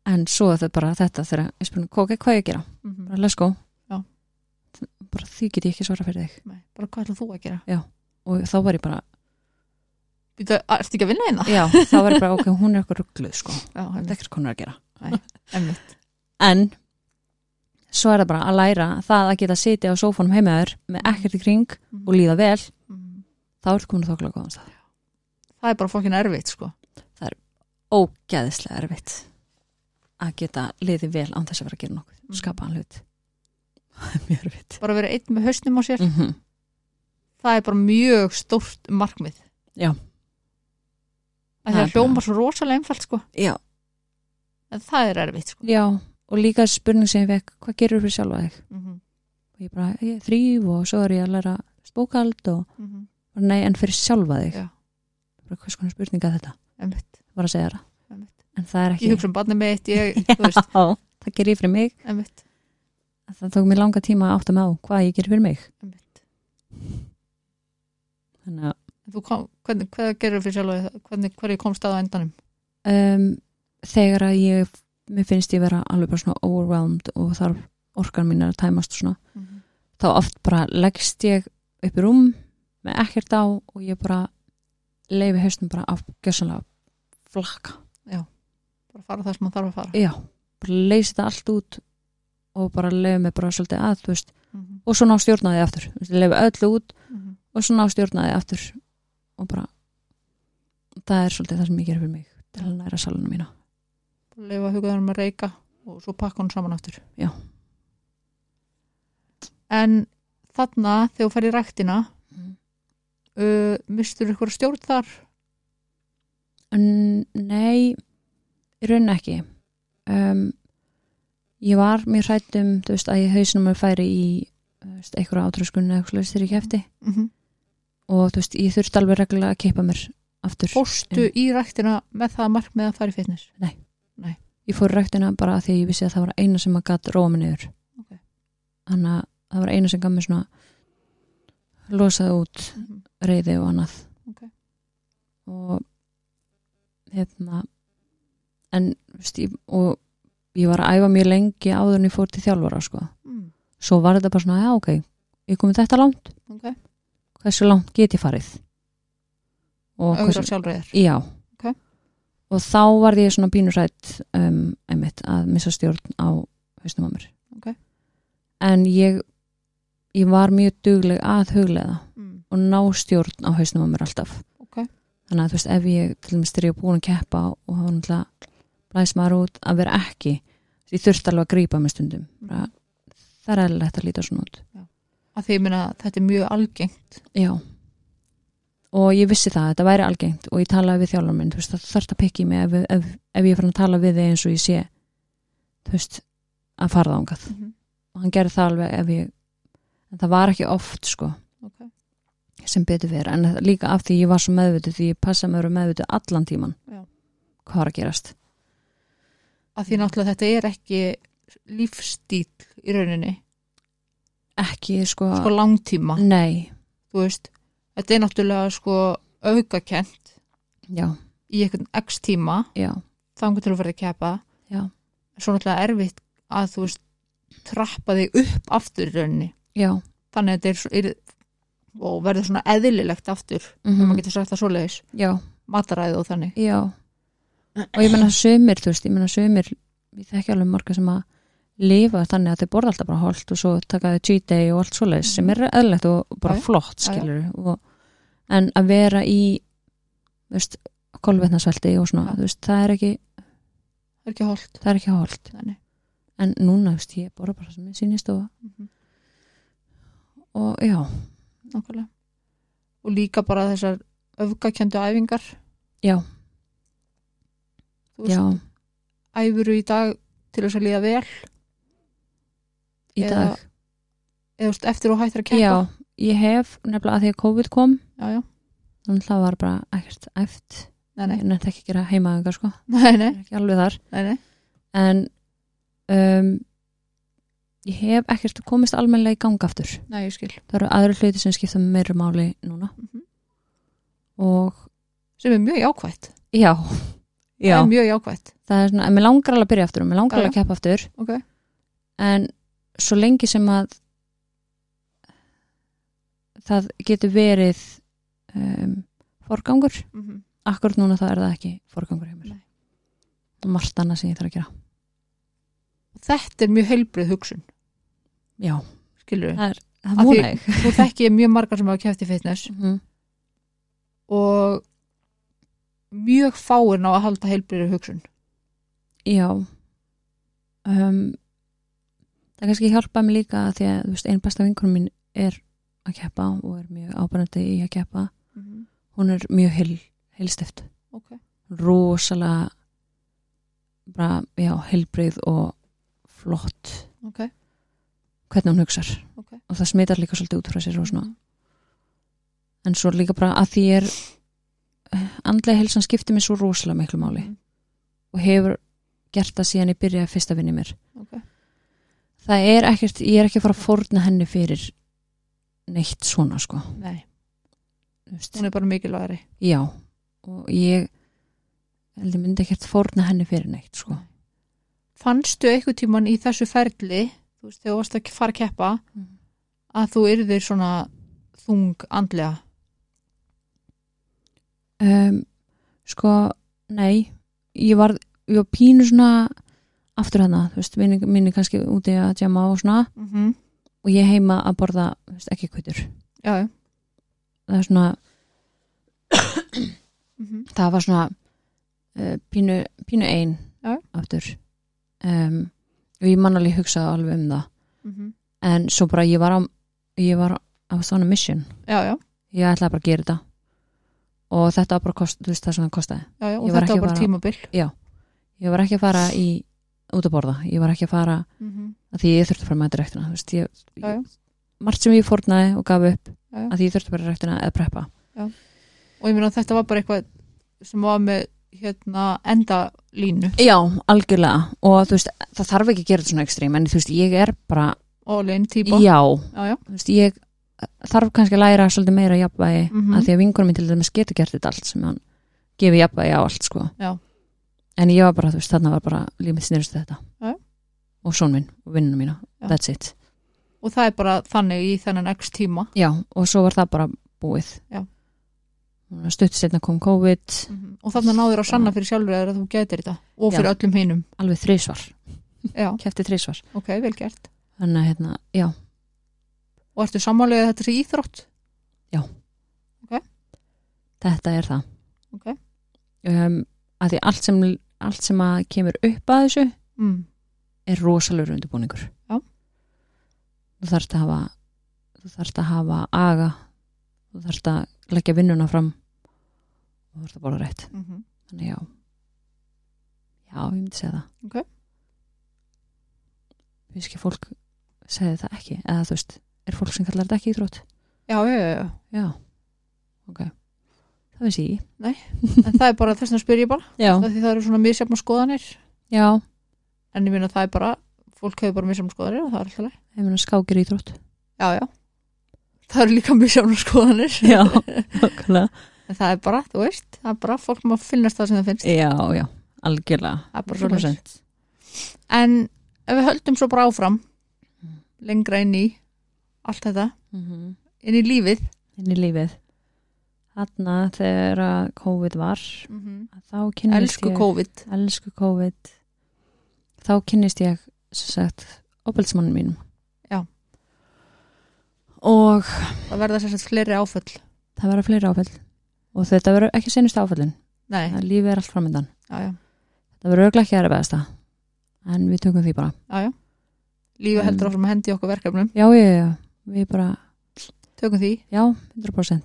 en svo er það bara þetta þegar ég spurning, ok, hvað á ég að gera bara, let's go Já. bara því get ég ekki svara fyrir þig Nei, bara hvað ætlað þú að gera og þá var ég bara, Býta, ertu ekki að vinna hérna? já, þá var ég bara ok, hún er okkur ruggluð sko, Já, þetta er ekkert konur að gera einmitt en svo er það bara að læra það að geta sitja á sófanum heimaður með ekkert í kring og líða vel Mhm. þá ertu komin að þokla góðan stað Það er bara fokkin erfitt sko ógæðislega erfitt að geta liðið vel án þess að vera að gera nokkuð Mhm. skapa hann hlut það er mjög erfitt bara vera einn með hausnum á sér mm það er bara mjög stórt markmið Já. að Það það er hljómar svo rosalega einfalt sko já. en það er erfitt sko já, og líka spurning sem ég vekk hvað gerur fyrir sjálfa þig mm -hmm. og ég bara, ég er þrýf og svo er ég að læra spókald og Mhm. bara, nei, en fyrir sjálfa þig Já. bara, hvers konar spurninga þetta, bara að segja það Einmitt. en það er ekki ég hugsa um barnið mitt ég, þú veist, Já, það gerir ég fyrir mig einmitt, það tók mér langa tíma að átta mig á hvað ég gerir fyrir mig einmitt. þannig að En Þú kom, hvernig, hvað gerir fyrir sjálf þig? hvernig, hverju komst það á endanum um, þegar að ég mér finnst ég vera alveg bara svona overwhelmed og þarf orkan mín er að tæmast og svona, þá oft bara leggst ég upp í rúm með ekkert á og ég bara leifi haustum bara af gjössanlega flakka, bara fara það sem maður þarf að fara já, bara leysi þetta allt út og bara leifi mig bara svolítið að, þú veist, mm -hmm. og svo ná stjórnaði aftur, Þú veist, leifi öllu út Mm og svo ná stjórnaði aftur og bara það er svolítið það sem ég gerir fyrir mig til að næra salunum mína -hmm. leifa hugaðanum að reyka og svo pakka hún saman aftur Já. en þarna þegar þú fer í ræktina Mhm. uh, mistur ykkur stjórn þar en nei í raunin ekki um, ég var mér hrætt um þú veist að ég hausnum að færi í þú veist, einhverja átröskunni eða eitthvað þegar ég kefti mm -hmm. og þú veist ég þurfti alveg reglulega að keipa mér aftur fórstu í ræktina með það markmið að fara í fitness ég fór í ræktina bara af því að ég vissi að það var eina sem að gat róa mig niður Ok. þannig að það var eina sem gaf mér svona losaði út Mhm. reyði og annað Ok. og hérna en þú veist, ég, og ég var að æfa mjög lengi áður en ég fór til þjálfara sko. mm. svo var þetta bara svona, já ok ég komið þetta langt, ok, hversu langt get ég farið og auðvitað sjálfræðir já Ok. og þá varði ég svona pínurætt um, einmitt að missa stjórn á haustum að mér Ok. en ég ég var mjög dugleg að huglega mm. og ná stjórn á hausnum á mér alltaf Ok. þannig að þú veist ef ég til dæmis þegar ég er búin að keppa og hafa náttúrulega blæs maður út að vera ekki ég þurfti alveg að grípa með stundum bara, það er eðlilegt að líta svona út að því ég minna þetta er mjög algengt já og ég vissi það, þetta væri algengt og ég talaði við þjálfur minn, þú veist það þarf að pikki mig ef, ef, ef ég er fann að tala við þig eins og ég sé þú veist að fara það ángað Mhm. og hann gerði það alveg ef ég en það var ekki oft sko Ok. sem betur fyrir en líka af því ég var svo meðvitu því ég passa með að vera meðvitu allan tíman Já. hvað var að gerast að því náttúrulega þetta er ekki lífstíl í rauninni ekki sko, sko langtíma, nei þú veist þetta er náttúrulega sko aukakent já, í einhvern x tíma já, þangur til að verða að kepa Já. svo náttúrulega erfitt að þú veist trappa þig upp aftur í rauninni já þannig að þetta er, svo- er og verður svona eðlilegt aftur mm. mm maður getur sagt það svoleiðis, já, mataræði og þannig já og ég menna sömur, þú veist, ég menna sömur ég þekki alveg marga sem að lifa þannig að þau borða alltaf bara holt og svo taka þau cheat day og allt svoleiðis sem er eðlilegt og bara Mhm. Já, já. flott Já, já. skilur og, en að vera í þú veist, kolvetnasvelti og svona, Já. þú veist, það er ekki það er ekki holdt það er ekki holt þannig en núna, þú veist, ég borða bara sem ég sýnist og, Mhm. og já, Nákvæmlega. Og líka bara þessar öfgakjöndu æfingar. Já. Þú veist, já æfuru í dag til þess að líða vel í Eða dag, eða þú veist, eftir og hættir að kempa. já, ég hef nefnilega að því að COVID kom, Já, já. þannig að það var bara ekkert æft, Nei, nei, ég nefndi ekki að gera heimaðingar sko, nei, nei, ég er ekki alveg þar nei, nei. en um, ég hef ekkert komist almennilega í gang aftur Nei, ég skil. það eru aðra hluti sem skipta meira máli núna Mhm. og Sem er mjög jákvætt. já, já. Það er mjög jákvætt. það er svona, en mér langar alveg að byrja aftur og mér langar alveg að keppa aftur Ok. en svo lengi sem að það getur verið um, forgangur Mm -hmm. akkur núna það er það ekki forgangur hjá mér Nei. og margt annað sem ég þarf að gera Þetta er mjög heilbrið hugsun, já, skilur við. það Af því- múna ég Þú þekki ég mjög margar sem hafa kæft í fitness Mhm. og mjög fáin á að halda heilbriðu hugsun. já um, það kannski hjálpa mér líka af því að þú veist, ein besta vinkunum mín er að keppa og er mjög ábærandi í að keppa Mm -hmm. hún er mjög heil, heilstift Ok. rosalega bara, já, heilbrigð og flott Ok. hvernig hún hugsar Ok. og það smitar líka svolítið út frá sér og svona en svo líka bara að því er eh, andlega helsan skiptir mér svo rosalega miklu máli Mhm. og hefur gert það síðan ég byrjaði fyrst að vinni mér Ok. það er ekkert, ég er ekki að fara að forna henni fyrir neitt svona sko Nei, þú veist. hún er bara mikilvægari. já og ég held ég myndi ekkert forna henni fyrir neitt sko Fannstu einhvern tíman í þessu ferli, þú veist, þegar þú varst að fara að keppa, Mhm. að þú yrðir svona þung andlega? um, sko, nei ég var, ég var pínu svona aftur hana, þú veist, minni, minni kannski úti að djama og svona Mm -hmm. og ég heima að borða, þú veist, ekki kveitur Já, já. það er svona, Mm -hmm. það var svona uh, pínu, pínu ein Já. aftur um, og ég man alveg hugsaði alveg um það en svo bara ég var á ég var á svona mission Já, já, ég ætlaði bara að gera þetta og þetta var bara kost, þú veist, það sem það kostaði já, já, og Ég þetta var ekki var bara bara- tímabil. ég var ekki að fara í út að borða, ég var ekki að fara Mm -hmm. að því ég þurfti bara að mæta rektina þú veist, ég, Já, já. margt sem ég fórnaði og gaf upp já. að því ég þurfti bara rektina eða preppa Og ég meina að þetta var bara eitthvað sem var með hérna endalínu já, algjörlega og þú veist, það þarf ekki að gera þetta svona ekstrím en þú veist, ég er bara, og lein típa. já já, já. þú veist, ég þarf kannski að læra svolítið meira jafnvægi Mhm. að því að vingunum minn til dæmis getur gert þetta allt sem hann gefi jafnvægi á allt sko. Já. en ég var bara, þú veist, þarna var bara límið snýrist þetta Já. og són minn og vinnunum mína, Já. that's it Og það er bara þannig í þennan x tíma. já, og svo var það bara búið Já. stutt setna kom COVID Og þannig náður að sanna fyrir sjálfur þér að þú getur þetta og fyrir Mhm. Já. öllum hinum. alveg þrísvar, Já, kefti þrísvar ok, vel gert. þannig að hérna, já, Og ertu sammálega þetta sé íþrótt? þetta er það Ok. um, að því allt sem, allt sem að kemur upp að þessu Mm. er rosalur undirbúningur Já. þú þarft að hafa þú þarft að hafa aga þú þarft að leggja vinnuna fram og þú þarft að borða rétt Mm -hmm. þannig já já, ég myndi segja það Ok. við veist ekki fólk segði það ekki, eða þú veist er fólk sem kallar þetta ekki íþrótt Já, já, já, já. já, ok það finnst ég En það er bara þess að spyrja bara. já, það, það eru svona misjafna skoðanir já en ég minna það er bara, fólk hefur bara misjafna skoðanir og það er alltaf leið Ég meina skákir íþrótt. já, já. það eru líka misjafna skoðanir Já, okkurlega. en það er bara, þú veist, það er bara fólk maður finnast það sem það finnst Já, já, algjörlega. það er bara svoleiðis. en ef við höldum svo bara áfram lengra inn í allt þetta, Mm -hmm. inn í lífið Inn í lífið. Þarna þegar að COVID var, að þá kynnist elsku ég... COVID Elsku COVID. Þá kynnist ég, sem sagt, opeldsmannum mínum. Já. Og það verða sér sett fleiri áföll það verða fleiri áfell. Og þetta verður ekki senust áfellin. nei, Það lífið er allt framöndan. já, já, Það verður örugglega ekki aðra beðasta. En við tökum því bara. já, já. lífið En- heldur áfram að hendi okkur verkefnum Já, já, já. Við bara tökum því, Já, 100%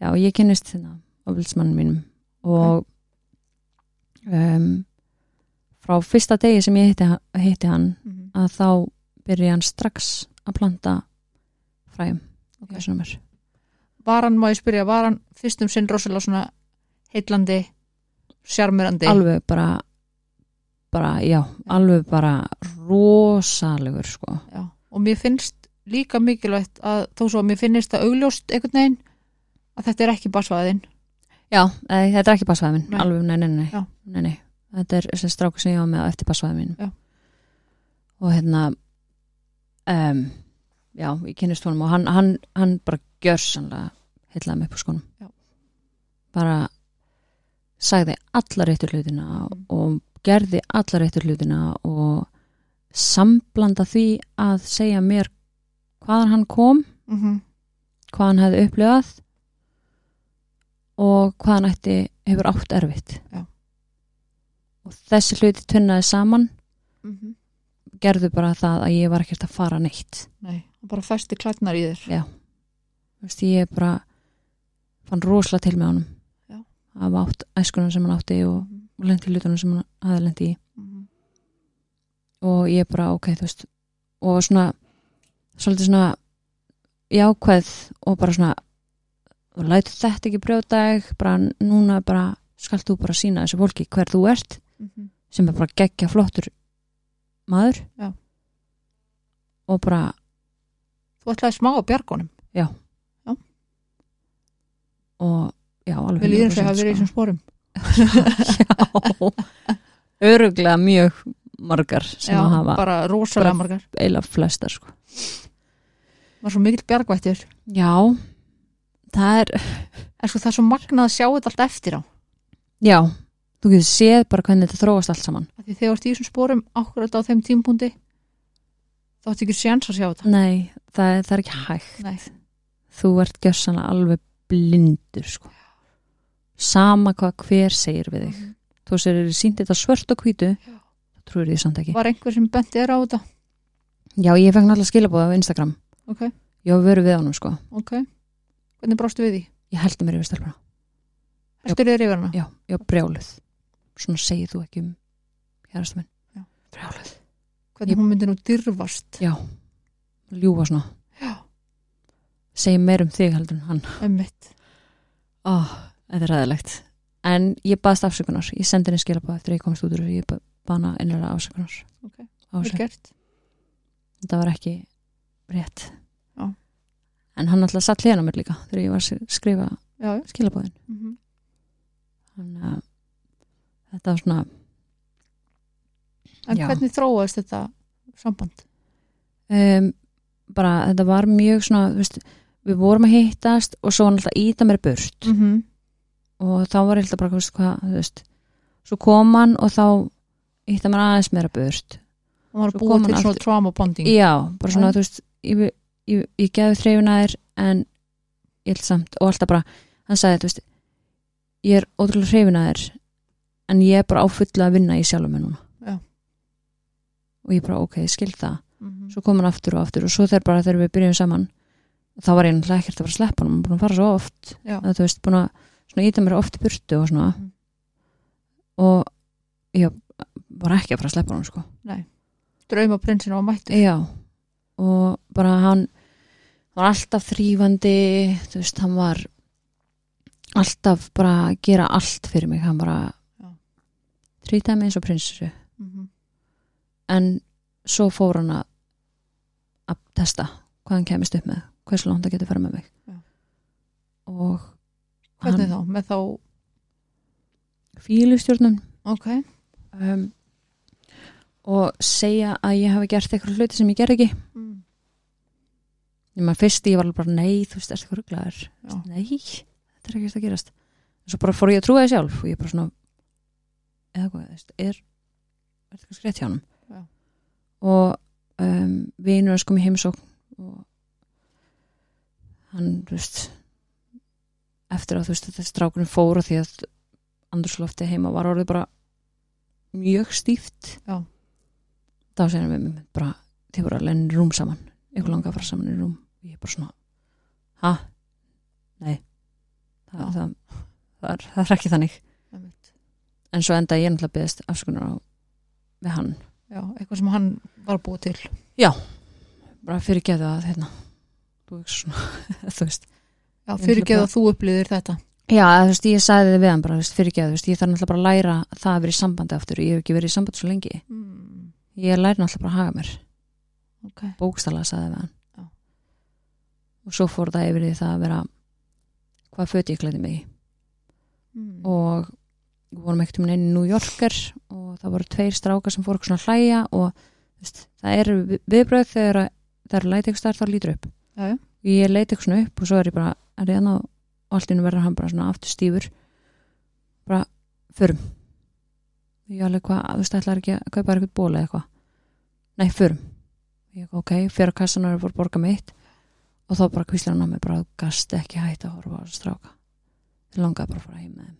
Já, ég kynnist hérna ofilsmannum mínum og um, frá fyrsta degi sem ég hitti, ha- hitti hann að þá byrja hann strax að planta fræjum Ok. okay. mér. var hann, má ég spyrja, var hann fyrst um sinn rosalega svona heillandi sjarmirandi Alveg bara bara, já, alveg bara rosalegur, sko. já. og mér finnst líka mikilvægt að þó svo að mér finnist það augljóst einhvern veginn að þetta er ekki basvaðin Já, eða, þetta er ekki passvæðin Nei. minn, alveg, nei, nei, nei, Já. nei, nei. Þetta er þessi stráku sem ég var með á eftir passvæðin minn. Já. Og hérna, um, já, ég kynnist honum og hann, hann, hann bara gjörsanlega heillaði mig upp á skonum. Já. Bara sagði alla réttur hlutina Mm. og gerði alla réttur hlutina og samblanda því að segja mér hvaðan hann kom mm Mhm. -hmm. hvað hann hefði upplifað og hvað hann ætti hefur átt erfitt Já. og þessi hluti tunnaði saman Mhm. gerðu bara það að ég var ekkert að fara neitt nei, og bara festi klætnar í þér Þú veist, ég bara fann rosalega til með honum Já. af átt æskunum sem hann átti og, Mhm. og lendi hlutunum sem hann hafði lendi í Mhm. og ég bara ok, þú veist og var svona svolítið svona jákvæð og bara svona og lætur þetta ekki brjóta þig bara núna bara skalt þú bara sína þessu fólki hver þú ert Mhm. sem er bara geggja flottur maður Já. og bara þú ætlaði smá að bjargónum og já, alveg við líðum þegar að 100% vera í þessum sporum sko. já, öruglega mjög margar sem já, að hafa bara rosalega bara- margar eiginlega flestar sko. var svo mikill bjargvættur já, það er en sko það er svo magnað að sjá þetta allt eftir á já, þú getur séð bara hvernig þetta þróast allt saman Af því þegar þú ert í þessum sporum akkurat á þeim tímpúndi þá ætti ekki séns að sjá þetta Nei, það, er- það er ekki hægt. Nei. Þú ert gjössanlega alveg blindur, sko. Sama hvað hver segir við þig. Þú sér eru sínt þetta svört og hvítu, Já. þá trúir því samt ekki. var einhver sem benti þér á þetta Já, ég fengi náttúrulega skilabóð á Instagram. ok, Ég var veru við honum, sko. ok, hvernig brástu við því Ég heldur mér yfir stelpuna. heldur þér yfir hana Já, ég var brjáluð. Svona segir þú ekki um hérasta minn. Já. Brjáluð. hvernig hún myndi nú dyrfast Já, ljúfa svona. já, Segir meir um þig heldur en hann. emmitt Oh, þetta er ræðilegt. En ég baðst afsökunar. Ég sendi henni skilabóð eftir að ég komst út úr þessu. Ég bana innlega afsökunar. Ok. Ásæk. gert Þetta var ekki rétt. Já. En hann alltaf satt hliðan á mér líka þegar ég var að skrifa já, já. skilabóðin. Mm Þannig að þetta var svona, en Já. hvernig þróaðist þetta samband um, bara þetta var mjög svona, þú veist, við vorum að hittast og svo var hann alltaf að íta mér burt. -hmm. og þá var ég alltaf bara, þú veist, hvað, þú veist svo kom hann og þá ítta mér aðeins meira burt og var Svo að kom búa hann til svona aftur. trauma bonding já, bara svona, Já. þú veist ég, ég, ég gefi þreifuna þér en ég held samt, og alltaf bara hann sagði, þú veist ég er ótrúlega hrifin að þér en ég er bara á fullu að vinna í sjálfum mér núna Já. og ég bara, ok, ég skil það Mhm. svo kom hann aftur og aftur og svo þegar bara þegar við byrjum saman þá var ég náttúrulega ekkert að bara sleppa hann, hann var búin að fara svo oft Já. að þú veist, búin að svona íta mér oft í burtu og svona Mhm. og ég var ekki að fara að sleppa hann sko draumaprinsinn var mættur já, og bara hann var alltaf þrýfandi þú veist, hann var alltaf bara að gera allt fyrir mig, hann bara Já. trýtaði mig eins og prinsessu mm -hmm. en svo fór hann að að testa hvað hann kemist upp með hversu langt það getur farið með mig Já. og hvernig hann þá, með þá fílustjórnum ok, um, og segja að ég hafi gert eitthvað hluti sem ég gerði ekki mm. Nýma, fyrst ég var alveg bara nei, þú veist, ertu eitthvað rugglaður Já. nei, þetta er ekkert að gerast en svo bara fór ég að trúa því sjálf og ég bara svona eða hvað, þú veist, er er þetta skrétt hjá hann Já. og um, vinur hans kom í heimsókn og hann, þú veist eftir að þú veist þetta strákunum fór og því að andurslofti heima var orðið bara mjög stíft Já. þá segir hann við mér bara, þið voru alveg í rúm saman ykkur langa að fara saman í rúm og ég bara svona, ha? nei það, Já. það, það, er, það er ekki þannig Einmitt. en svo enda ég náttúrulega byggðist afsökunar á við hann, já, eitthvað sem hann var að búa til bara fyrir geðu að hérna, þú veist svona þú veist, já, Ég fyrirgeð ætla að þú upplýðir þetta Já, eða, þú veist, ég sagði þið við hann bara, þú veist, fyrir ekki að, þú veist, ég þarf náttúrulega bara að læra það að vera í sambandi aftur, ég hef ekki verið í sambandi svo lengi. Mhm. mm. Ég læri náttúrulega bara að haga mér. ok, bókstallega sagði við hann Já. og svo fór það yfir í það að vera hvað föt ég klæði mig í. mm. og við vorum ekkert um neinu New Yorker og það voru tveir strákar sem fór okkur svona að hlæja og þú veist, það eru vi- viðbrögð þegar að- það eru læti ykkur starf þá lítur upp Já, já. ég leiti ykkur svona upp og svo er ég bara er ég annað og allt innu verður hann bara svona aftur stífur bara förum ég alveg hvað, þú veist, ætlar ekki að kaupa þér eitthvað ból eða eitthvað nei, förum ég, ok, fyrir að kassan og er að borga mitt og þá bara kvíslar hann að mig bara þú gast ekki hægt að horfa á þessa stráka ég langaði bara að fara heim með þeim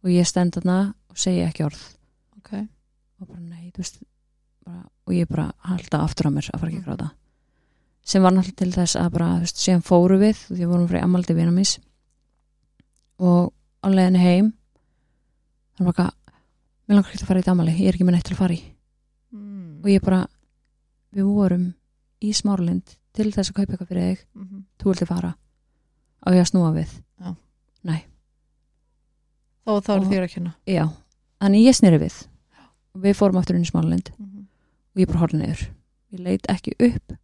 og ég stend þarna og segi ekki orð ok og bara nei, þú veist bara, og ég bara halda aftur á mér að fara ekki að gráta sem var náttúrulega til þess að bara, þú veist, síðan fóru við og því vorum fyrir amaldi vina mis og á leiðinu heim það var bara eitthvað, mér langar ekki að fara í þetta amali ég er ekki með neitt til að fara í mm. og ég bara, við vorum í smárlind til þess að kaupa eitthvað fyrir þig Mhm. þú vildi fara á ég að snúa við þá þá er Og- þér að kynna já, þannig ég sneri við og við fórum aftur inn í smárlind mm. og ég bara horfði niður ég leit ekki upp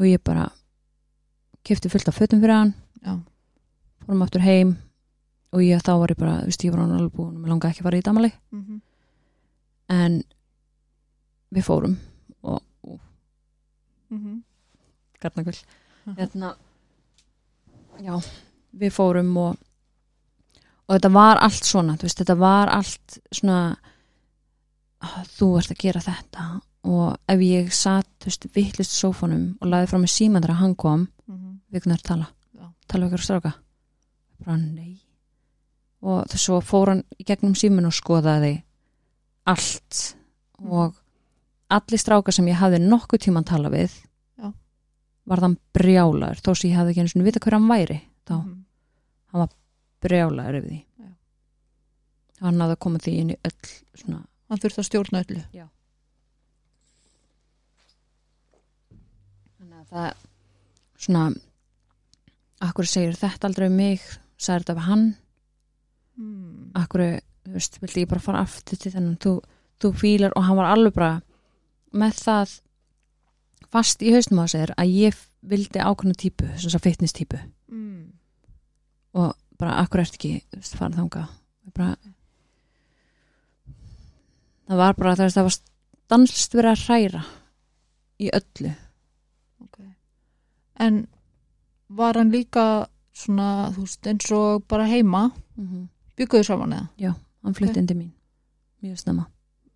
og ég bara kefti fullt af fötum fyrir hann Já. fórum aftur heim og ég, þá var ég bara, þú veist, ég var hann alveg búin og mér langaði ekki að fara í damali Mm en við fórum og, og -hmm. garnagull hérna, já, við fórum og, og þetta var allt svona þú veist, þetta var allt svona "Ah, þú ert að gera þetta og ef ég satt, þú veist, vittlist sófanum og laði frá mig síman þegar hann kom Mm við kunnar tala, Já. tala við ykkur stráka bara nei og þess svo fór hann í gegnum símin og skoðaði allt Mhm. og allir stráka sem ég hafði nokkuð tíma að tala við Já. varð hann brjálaður þó sem ég hafði ekki einu sinni vita hver hann væri þá -hmm. brjálaður yfir því Já. hann hafði að koma því inn í öll svona, hann þurft að stjórna öllu þannig að það svona akkur segir þetta aldrei um mig sagði þetta af hann mm. akkur, þú veist, vildi ég bara fara aftur til þennan, þú, þú fílar og hann var alveg bara með það fast í haustum á sér að ég vildi ákveðna típu þess að fitness típu Mm. og bara akkur ert ekki þú veist, fara þanga bara, það var bara þú veist, það var stanslist verið að hræra í öllu en var hann líka svona, þú veist, eins og bara heima bygguðu saman eða, hann flutti inn til mín mjög snemma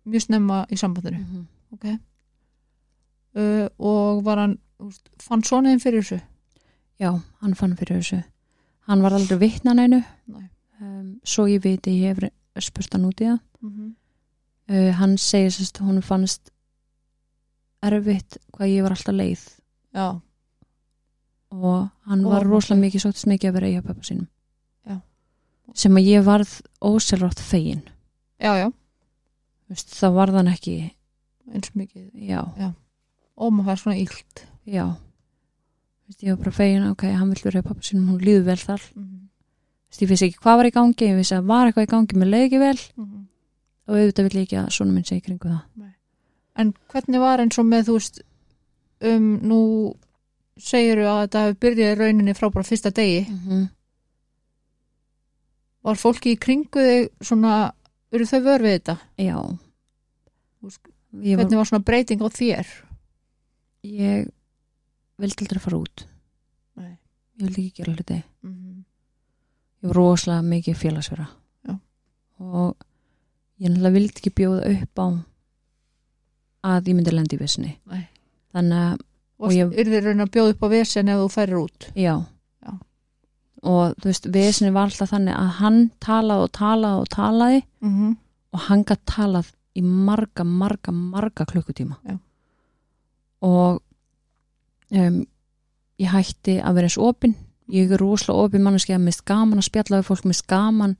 mjög snemma í sambandinu uh, og var hann þú veist, fann svona einn fyrir þessu já, hann fann fyrir þessu hann var aldrei vitna neinu Nei. um, svo ég viti ég hef re- spurt hann út í það mm uh, hann segir sérst hún fannst erfitt hvað ég var alltaf leið já, og hann Og var hann rosalega mikið sóttist mikið að vera eiga pappa sínum Já. sem að ég varð óselvrátt fegin já, já, Vist, það varð hann ekki eins mikið já, og maður fær svona illt já Vist, ég var bara fegin, ok, hann vill vera eiga pappa sínum hún líður vel þar, mm Vist, ég vissi ekki hvað var í gangi ég vissi að var eitthvað í gangi, mér leið ekki vel -hmm. og auðvitað vill ég ekki að svona minn segja kringu það en hvernig var eins og með þú veist um, nú segiru að þetta hefur byrjað í rauninni frá bara fyrsta degi mm var fólki í kringu þig svona eru þau vör við þetta? já Þú veist, ég var, hvernig var svona breyting á þér? ég vildi aldrei fara út Nei. ég vildi ekki gera hluti Mm -hmm. ég var rosalega mikið félagsverða Já. og ég náttúrulega vildi ekki bjóða upp á að ég myndi lendi í vissinni Nei. þannig að, og ég- ég... yrðir raunin að bjóða upp á vesen ef þú færir út já. Já. og þú veist, vissinni var alltaf þannig að hann talaði og talaði og talaði mm -hmm. og hann gætt talað í marga, marga, marga klukkutíma Já. og um, ég hætti að vera eins opin ég er rosalega opin manneski að mist gaman að spjalla við fólk, mist gaman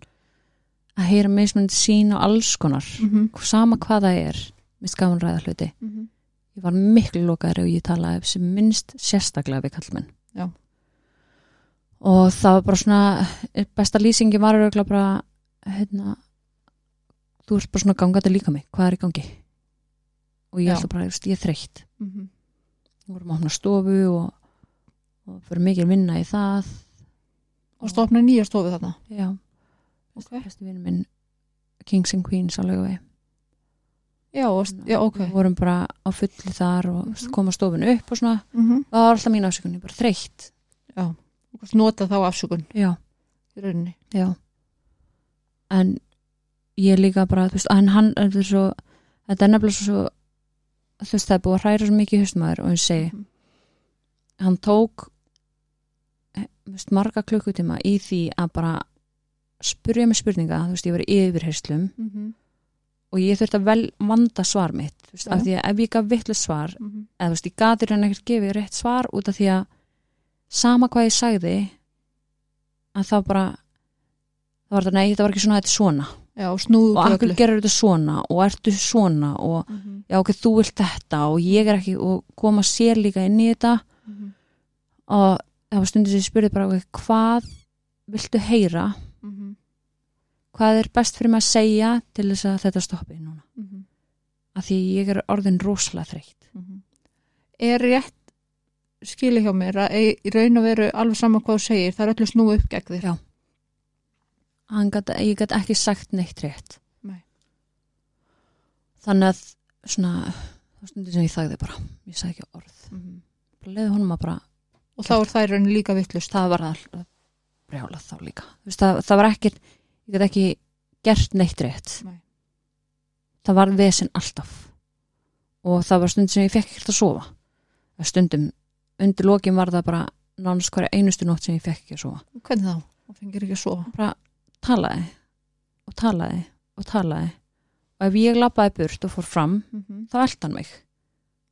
að heyra mismunandi sín og alls konar Mm -hmm. sama hvað það er mist gaman að ræða hluti ég var miklu lokaðri og ég talaði sem minnst sérstaklega við kallmenn Já. og það var bara svona eh, besta lýsingi var auðvitað bara hérna þú ert bara svona gangandi líka mig, hvað er í gangi og ég Já. ætla bara, þú veist, ég er þreytt mm -hmm. við vorum að opna stofu og, og fyrir mikil vinna í það og stofna nýja stofu þarna já, Ok. besti vinn minn Kings and Queens á laugavegi já, og, já ok við vorum bara á fulli þar og mm Mhm. koma stofun upp og svona mm -hmm. það var alltaf mín ásökun, ég er bara þreytt nota þá afsökun já, í rauninni já en ég líka bara, þú veist, en hann er þetta svo, þetta er nefnilega svo þú veist, það er búið að hræra svo mikið í haustum maður og hann segi, Mhm. hann tók eh, þú veist, marga klukkutíma í því að bara spurja mig spurninga, þú veist, ég var í yfirheyslum mm -hmm. og ég þurfti að vel vanda svar mitt, þú veist, Já. af því að ef ég gaf vitlega svar eða þú veist, ég gati raun ekkert gefið rétt svar út af því að sama hvað ég sagði að þá bara það var þetta, nei, þetta var ekki svona, þetta er svona já, og snúðu og akkur gerur þetta svona og ertu svona og mm -hmm. já, ok, þú vilt þetta og ég er ekki, og koma sér líka inn í þetta Mm og það var stundin sem ég spurði bara ok, hvað viltu heyra -hmm. mhm, hvað er best fyrir mig að segja til þess að þetta stoppi núna af því ég er orðin rosalega þreytt er rétt skili hjá mér að ei- í raun og veru alveg sama hvað þú segir, það er öllu snúið upp gegn þér Já. Hann gat, ég gat ekki sagt neitt rétt Nei. þannig að svona, það stundir sem ég þagði bara ég sagði ekki orð, Mhm. bara leiði honum að bara og þá er það í rauninni líka vittlust það var alltaf brjálað þá líka Þú veist, það, það var ekkert, ég gat ekki gert neitt rétt Nei. það var vesinn alltaf og það var stund sem ég fekk ekkert að sofa Það stundum, undir lokin var það bara nánast hverja einustu nótt sem ég fekk ekki að sofa hvernig þá, það fengir ekki að sofa bara talaði og talaði og talaði og ef ég labbaði burt og fór fram mm -hmm. þá eldi hann mig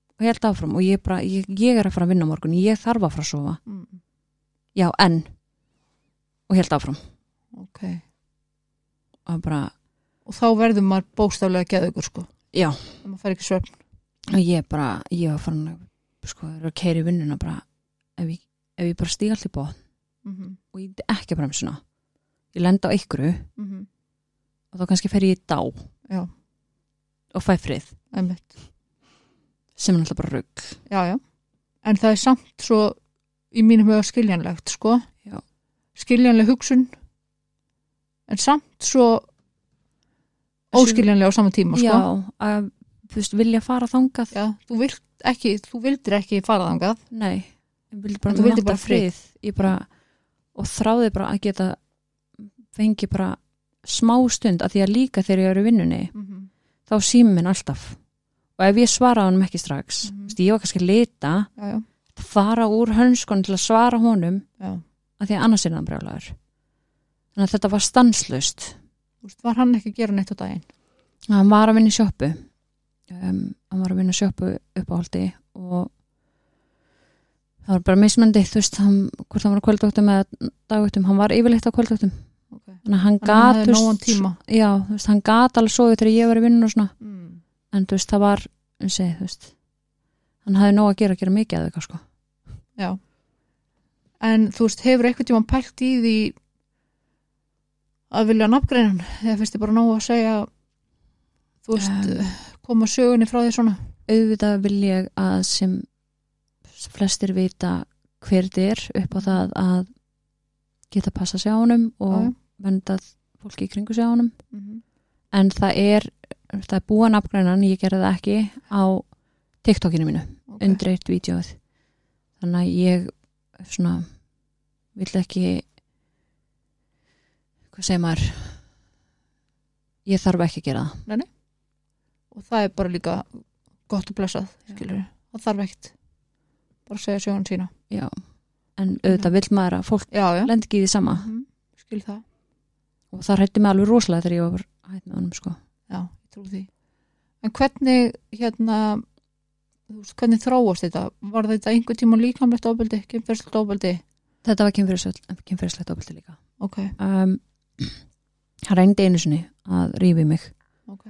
og ég held áfram og ég, bara, ég, ég er að fara að vinna á morgun ég þarf að fara að sofa, já en og ég held áfram ok, og bara, og þá verður maður bóstaflega geðugur sko já, ef maður fær ekki svefn og ég bara ég var farin að sko, keiri vinnuna bara, ef ég, ef ég bara stíg allt í bóð mm -hmm. og ég ýti ekki að bremsuna ég lenda á ykkuru Mm mhm. -hmm. og þá kannski fer ég í dá Já. og fæ frið einmitt, sem er náttúrulega bara rugg já já en það er samt svo í mínum huga skiljanlegt sko Já. skiljanleg hugsun en samt svo óskiljanlega á sama tíma sko já, að, þú veist, vilja fara þangað Já, þú vilt ekki, þú vildir ekki fara þangað nei, ég vildi En bara, þú vildir njóta bara frið. ég bara, og þráði bara að geta fengi bara smá stund að því að líka þegar ég er í vinnunni mm -hmm. þá símum minn alltaf og ef ég svara honum ekki strax Mhm. mm -hmm. ég var kannski að lita, Já, já, fara úr hönskon til að svara honum já að því að annars er hann brjálagur þannig að þetta var stanslust Þú veist, var hann ekki að gera neitt á daginn hann var að vinna í sjoppu um, hann var að vinna í sjoppu uppáhaldi og það var bara mismandi þú veist, hann, hvort hann var á kvöldvöktum eða dagvöktum, hann var yfirleitt á kvöldvöktum okay. þannig að hann Hann gat hafði þú nógan veist, tíma já, þú veist, hann gat alveg svo þegar ég var í vinnu og svona mm. en þú veist, það var, ég segi, þú veist hann hafði nóg að gera, gera mikið að þau sko. En þú veist, hefur eitthvað tíma pælt í því að vilja nafngreina hann eða finnst þið bara nóg að segja þú veist, Em. koma sögunni frá því svona auðvitað vil ég að sem flestir vita hver þið er upp á það að geta passa sig á honum og Já, já. vendað fólki í kringu sig á honum mm -hmm. en það er, það er búa nafngrænan ég gerði það ekki á TikTokinu mínu, okay. okay. undir eitt vídjóð þannig að ég svona, vill ekki hvað segir maður ég þarf ekki að gera það og það er bara líka gott að blessað, Já. skilur við það þarf ekkert, bara að segja sögun sína já, en auðvitað vill maður að fólk Já, já, lend ekki í því sama Mhm. skil það og það hrætti mig alveg rosalega þegar ég var hætt með honum sko. Já, ég trú því. En hvernig, hérna, þú veist, hvernig þróast þetta? Var þetta einhver tíma líkamlegt ofbeldi, kynferðslegt ofbeldi? þetta var kynferðisvöld- kynferðislegt ofbeldi líka Ok, um, hann reyndi einu sinni að rífi mig ok.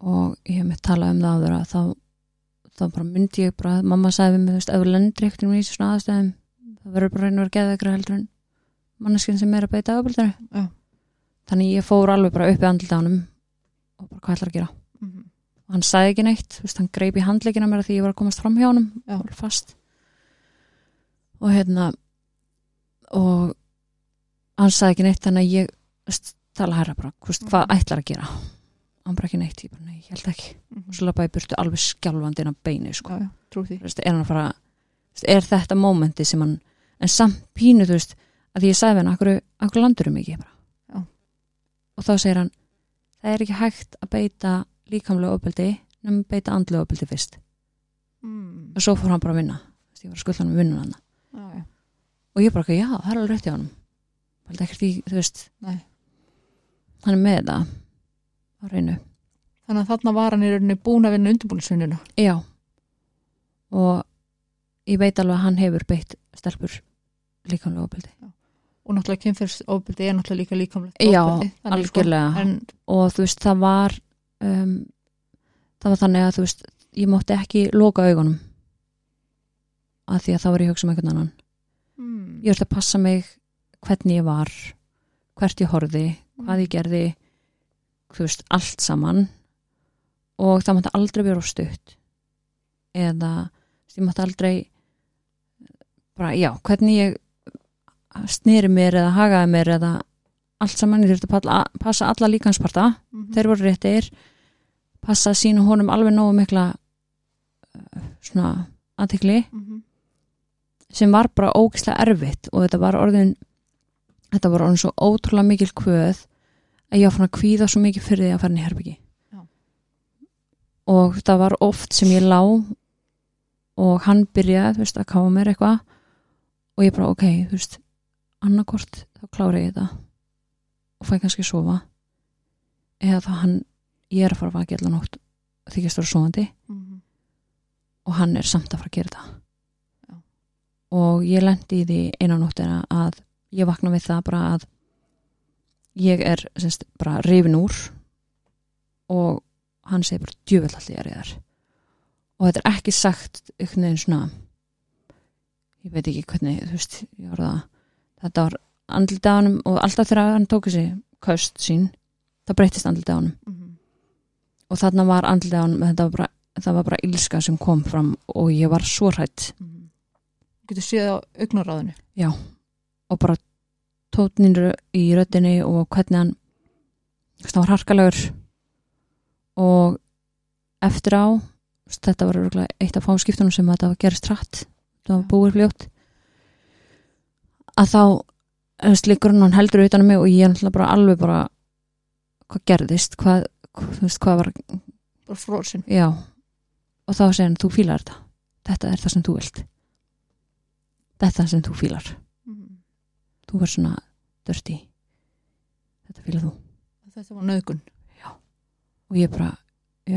og ég hef með talað um það áður að þá, þá bara myndi ég bara mamma sagði við mig, þú veist, ef þú lendir ekkert í svona aðstæðum þá verður bara að reyna að vera geðveikra heldur en manneskinn sem er að beita öfbildinu Já. þannig ég fór alveg bara upp í andlita á honum og bara hvað ætlar að gera Mhm. og hann sagði ekki neitt, þú veist, hann greip í handleikina mér af því ég var að komast fram hjá honum Já. og fast og hérna og hann sagði ekki neitt þannig að ég þú veist, tala herra bara, þú veist, Mm. hvað ætlar að gera hann bara ekki neitt, ég bara nei, ég held ekki Mhm. og svo lappa ég burtu alveg skjálfandi inn á beinu sko Já, já, trú því Þú veist, er hann að fara þú veist, er þetta mómenti sem hann en samt pínu, þú veist, að því ég sagði við hann akkur, akkur landurum ekki bara Já. og þá segir hann það er ekki hægt að beita líkamlega opildi nema beita andlega opildi fyrst mm. og svo fór hann bara að vinna Þú veist, ég var að skulda hann að vinna hann já, já. og ég bara ekki, já, það er alveg rétt hjá hann bara ekkert því, þú veist Nei. hann er með það á reynu Þannig að þarna var hann í rauninni búin að vinna undirbúinsununa Já og ég veit alveg að hann hefur beitt stelpur líkamlega opildi og náttúrulega kynfyrsofbeldi er náttúrulega líka líkamlegt Já, ofbeldi. Þannig sko, algjörlega en, og þú veist það var um, það var þannig að þú veist ég mátti ekki loka augunum að því að þá var ég að hugsa um einhvern annan mm, ég ætla að passa mig hvernig ég var hvert ég horfði, hvað ég gerði þú veist, allt saman og það mátti aldrei vera of stutt eða þú veist, ég mátti aldrei bara, já, hvernig ég sneri mér eða hagaði mér eða allt saman, ég þurfti að palla- passa alla líkansparta mhm. þeir voru réttir passa að sína honum alveg nógu mikla uh, svona aðtikli Mhm. sem var bara ógislega erfitt og þetta var orðin þetta var orðin svo ótrúlega mikil kvöð að ég var fann að kvíða svo mikið fyrir því að fara inn í herbyggi Já. og það var oft sem ég lá og hann byrjaði þú veist, að káfa mér eitthvað og ég bara ok, þú veist annarkort þá klára ég þetta og fæ kannski að sofa eða þá hann, ég er að fara að vakið allan ótt og þykist vera sofandi Mhm. og hann er samt að fara að gera þetta Já. og ég lendi í því einan nóttina að ég vakna við það bara að ég er semst, bara rifin úr og hann segir bara djöfell allir ég er þar og þetta er ekki sagt einhvern veginn svona ég veit ekki hvernig þú veist, ég var það þetta var andlitið á honum og alltaf þegar hann tók þessi köst sín það breyttist andlitið á honum Mhm. og þarna var andlitið á honum þetta var bara, það var bara ilska sem kom fram og ég var svo hrætt Mhm. Þú getur séð á augnaráðinu og bara tótnin í röddinni og hvernig hann þú veist, hann var harkalegur og eftir á þú veist, þetta var örugglega eitt af fáskiptunum sem þetta var gerist rætt það var Já. búið fljótt að þá þú veist, liggur hann hann heldur utan á mig og ég er náttúrulega bara alveg bara hvað gerðist, hvað, hvað, þú veist, hvað var bara fróðsinn Já, og þá segir hann, þú fílar þetta. Þetta er það sem þú vilt. Þetta er það sem þú fílar. mm. Þú verður svona dörti. Þetta fílar þú. þetta var nöðgun Og ég bara, já,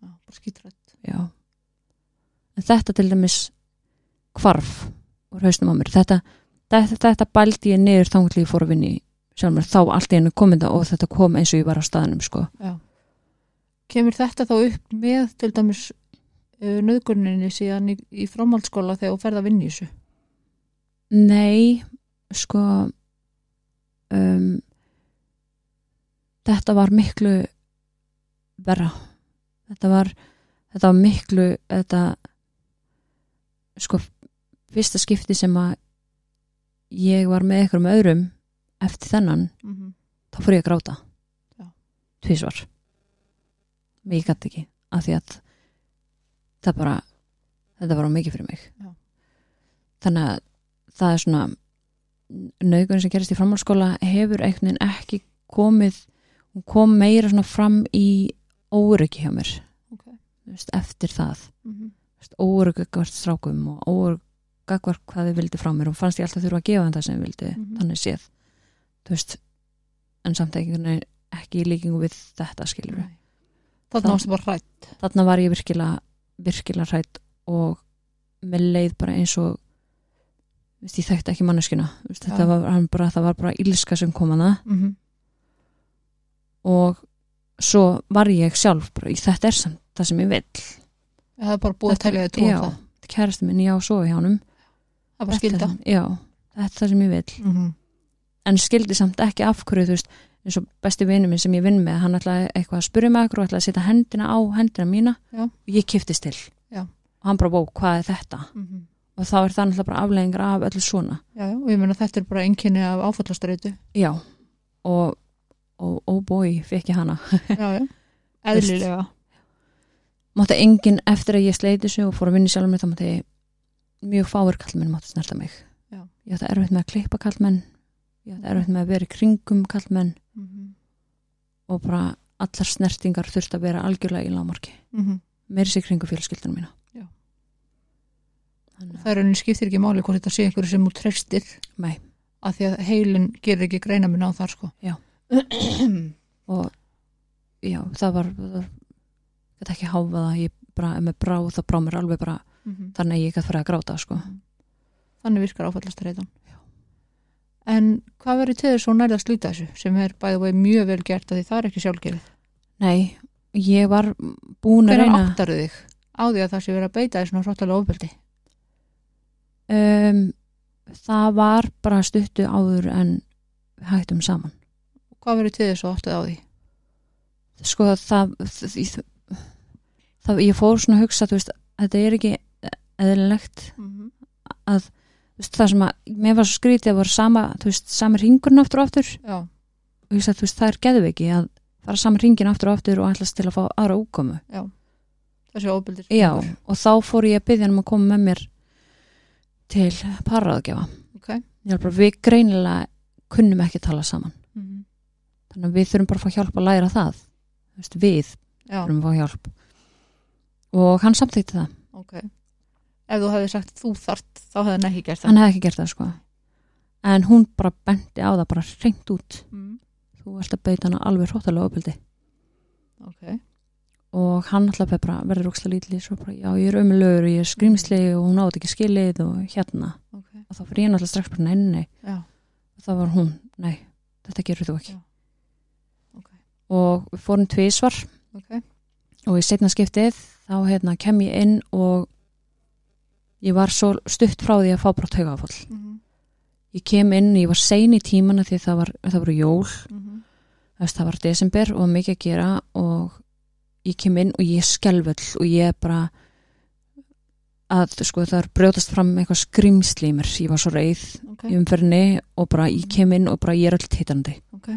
já, bara skítrætt já. En þetta til dæmis hvarf úr hausnum á mér. Þetta, þetta, þetta bældi ég niður þangt til ég fór að vinni sjálf mér. Þá allt í hennu komið það og þetta kom eins og ég var á staðnum, sko. kemur þetta þá upp með til dæmis uh, nöðguninni síðan í, í framhaldsskóla þegar þú ferð að vinna í þessu Nei, sko um, þetta var miklu verra þetta var, þetta var miklu þetta sko fyrsta skipti sem að ég var með ykkur með öðrum eftir þennan, mm þá fór ég að gráta Já. tvísvar ég gæti ekki af því að það bara þetta var á mikið fyrir mig Já. þannig að það er svona nöðgun sem gerist í framhaldsskóla hefur einhvern veginn ekki komið hún kom meira svona fram í óryggi hjá mér Ok. Þú veist, eftir það -hmm. óryggjagvart strákum og óryggjagvart hvað þið vildi frá mér og fannst ég alltaf þurfa að gefa þeim það sem þið vildi Mhm. þannig séð þú veist, en samt ekki, einhvern veginn ekki í líkingu við þetta skilur við þarna Það- varstu bara rætt þarna var ég virkilega virkilega hrætt og með leið bara eins og þú veist, ég þekkti ekki manneskuna Þú veist, Já. þetta var hann bara, það var bara ílska sem kom hana mm -hmm. og svo var ég sjálf bara, "Í- þetta er samt það sem ég vill það er bara búið að Þetta- telja þið trú já, það kærasti minn, ég á að sofa hjá honum það er bara Þetta er skilda það- já, þetta er það sem ég vil mm -hmm. en skildi samt ekki af hverju þú veist eins og besti vinur minn sem ég vinn með hann ætlaði eitthvað að spyrja mig akkur og ætlaði að setja hendina á hendina mína Já. og ég kiftist til Já. og hann bara bó, hvað er þetta Mhm. og þá er það náttúrulega bara afleggingar af öllu svona Já, já, og ég meina þetta er bara einkenni af áfallastreitu. já, og og oh boy, fekk ég hana Já, já. Eðlilega. mátti enginn eftir að ég sleiti þessu og fór að vinna sjálfum mér þá mátti mjög fáir kallmenn mátti snerta mig Já. ég átti erfitt með að klippa kallmenn ég átti erfitt með að vera í kringum kallmenn Mhm. og bara allar snertingar þurfti að vera algjörlega í lámarki Mhm. meiri sér kringu fjölskyldunum mína Já. Þannig, Það er raunin skiptir ekki máli hvort þetta sé einhverju sem þú treystir að- nei, að því að heilin gerir ekki greina minn á þar sko. Já. Já, og já, það var þetta ekki háfa það ég bara, ef mér brá, það brá mér alveg bara Mhm. þannig að ég gæti fyrir að gráta sko. þannig virkar áfallastreitan en hvað verður til þess að hún nærða að slíta þessu sem er bæði vegi mjög vel gert að því það er ekki sjálfgerið nei, ég var búin að hvernig reyna áttarðu þig á því að það sé verið að beita þessu náttúrulega ofbeldi um, það var bara stuttu áður en við hættum saman hvað verður til þess að áttarðu á því sko það, það, það, það ég fór svona að hugsa þú veist, þetta er ekki eðlilegt Þú veist, það sem að mér var svo skrítið að voru sama, þú veist, sami ringurinn aftur og aftur já, og ég sagði, þú veist, það er geðveiki að fara sami ringin aftur og aftur og ætlast til að fá aðra útkomu þessi ofbeldi sem já, gengur. og þá fór ég að byggja hann um að koma með mér til parraðgjafa ok ég var bara, við greinilega kunnum ekki að tala saman Mhm. þannig að við þurfum bara að fá hjálp að læra það Þú veist, við já, þurfum að fá hjálp og hann samþýtti það, ok ef þú hefði sagt þú þart þá hefði hann ekki gert það hann hefði ekki gert það sko en hún bara bendi á það bara reynd út, mm. þú ert að beita hana alveg hróttalega opildi ok, og hann alltaf bara verður ókslega lítið svo bara, já ég er ömulögur og ég er skrýmsli og hún átt ekki skilið og hérna Mm. ok, og þá fyrir ég náttúrulega strax bara nei, nei, nei. já, og þá var hún, nei, þetta gerur þú ekki Já. Ok. og við fórum tvísvar ok og í setna skiptið þá hérna kem ég inn og ég var svo stutt frá því að fá bara taugafall Mhm. ég kem inn, ég var sein í tímana því það var, það voru jól Mhm. þess, það var desember og mikið að gera og ég kem inn og ég er skelvöll og ég er bara að sko það er brjótast fram eitthvað skrimsli í mér, ég var svo reið ok, Mhm. í umferðinni og bara ég kem inn og bara ég er öll tittandi ok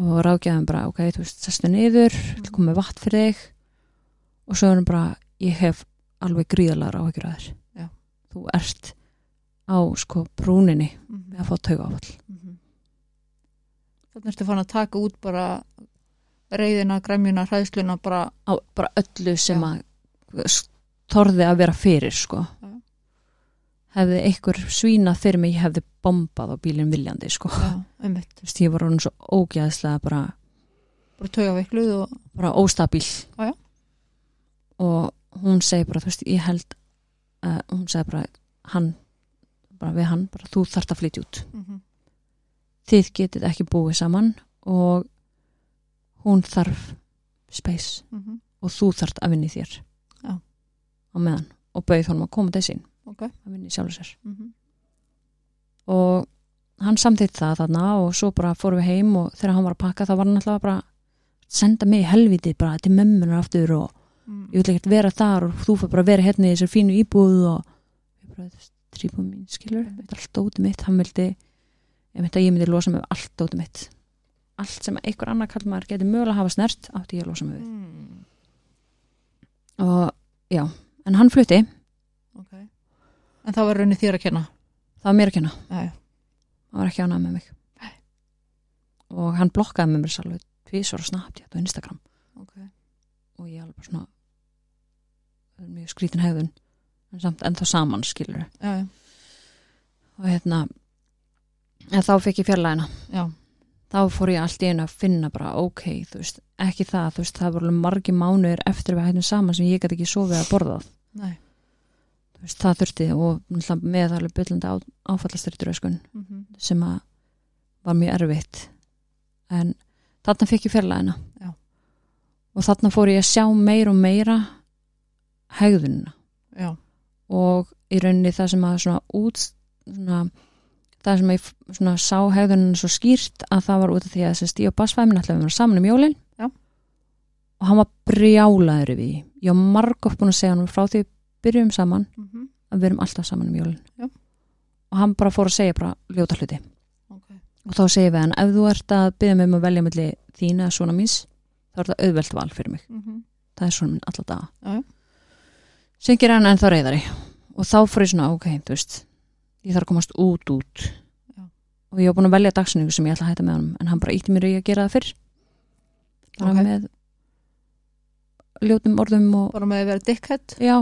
og rákjaðum bara, ok, þú veist, sestu niður Mhm. mm. komið vatn fyrir þig og svo er hann bara, ég hef alveg gríðalar áhyggjur að þér Já. þú ert á sko brúninni Mhm. með að fá taugafall -hmm. Þannig ertu fann að taka út bara reyðina, græmjuna, hræðsluna bara, á bara öllu sem Já. að torði að vera fyrir sko Já. hefði einhver svínað fyrir mig, ég hefði bombað á bílinn viljandi sko já, einmitt, þú veist, ég var hann svo ógæðslega bara bara tauga veikluð og bara óstabíl Já, já. og hún segi bara, þú veist, ég held uh, hún segi bara, hann bara við hann, bara þú þart að flytja út mm -hmm. þið getið ekki búið saman og hún þarf space mhm. og þú þart að vinni þér Já. á meðan og bauð honum að koma til sín ok, að vinni sjálfur sér mm -hmm. og hann samþýtt það þarna og svo bara fórum við heim og þegar hann var að pakka þá var hann alltaf bara að senda mig í helviti bara til mömmunar aftur og mhm. ég vil ekkert vera þar og þú fyrir bara að vera hérna í þessar fínu íbúð og ég bara, þú veist, tríbúð mín skilur þetta er allt dótið mitt, hann vildi ég myndi að ég myndi losa mig við allt dótið mitt allt sem einhver annar kallmaður geti mögulega hafa snert, átti ég að losa mig Mm. við og já, en hann flutti ok en það var raunni þér að kenna það var mér að kenna, já, já. það var ekki ánað með mig Nei. og hann blokkaði með mér sálveg tvísvar og snabbt, ég á Instagram ok, og ég alveg bara svona það er mjög skrítin hegðun en samt ennþá saman skilur já, já, og hérna en þá fekk ég fjarlæðina já þá fór ég allt í einu að finna bara ok, þú veist, ekki það, þú veist, það voru alveg margi mánuðir eftir við hættum saman sem ég gæti ekki sofið að borða það, nei þú veist, það þurfti og náttúrulega með alveg byllandi áfallastyrtur sko. öskun mm -hmm. sem að var mjög erfitt en þarna fekk ég fjarlæðina Já. og þarna fór ég að sjá meira og meira hegðunina já, og í rauninni það sem að svona út svona það sem ég f- svona sá hegðunin svo skýrt að það var út af því að þessi stíu og basfæmin alltaf við varum saman um jólin Já. og hann var brjálaður yfir því ég var margótt búin að segja hann frá því við byrjum saman Mhm. að við erum alltaf saman um jólin Já. og hann bara fór að segja bara ljóta hluti Ok. og þá segir við hann ef þú ert að byrja mig um að velja milli þín eða svona míns þá er það auðvelt val fyrir mig Mhm. það er svona minn alla daga Já, já. sem gerir hann ennþá reyðari og þá fór ég svona, ok, þú veist ég þarf að komast út út Já. og ég var búin að velja dagsinningu sem ég ætla að hætta með hann en hann bara ítti mér í að gera það fyrr bara Ok. með ljótum orðum og Bara með að vera dickhead já,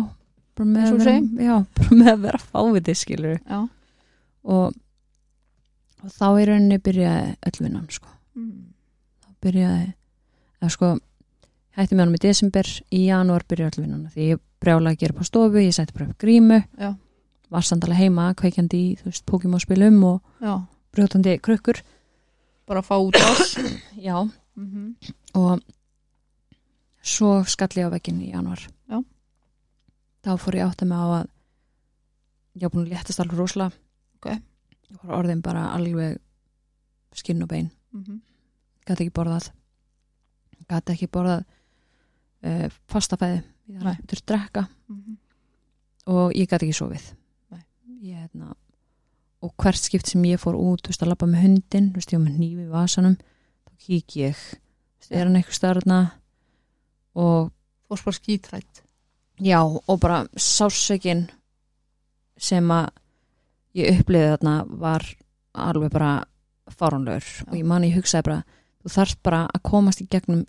bara með, Eins og að vera, já, bara með að vera fáviti skilur Já og, og þá í rauninni byrjaði öll vinnan sko mm. byrjaði eða sko, hætti með honum í desember í janúar byrjaði öll vinnuna því ég brjála að gera upp á stofu, ég sætti bara upp grímu Já. var sandala heima, kveikjandi í þú veist, Pokémon spilum og Já, brjótandi krukkur bara að fá út ás já, mm og svo skall ég á vegginn í janúar Já. þá fór ég átti með á að ég var búin að léttast alveg rúsla Ok. ég var orðin bara alveg skinn og bein -hmm. gæti ekki borðað gæti ekki borðað uh, fastafæði ég Nei. þarf að drekka mhm. og ég gæti ekki sofið Nei. ég, hérna, og hvert skipt sem ég fór út þú veist að labba með hundin, þú veist ég var með hnífi í vasanum, þá kík ég þú veist, er hann eitthvað starna og Fórst bara skítrætt já, og bara sásökin sem að ég upplifði þarna var alveg bara fáránlegur og ég man að ég hugsaði bara þú þarft bara að komast í gegnum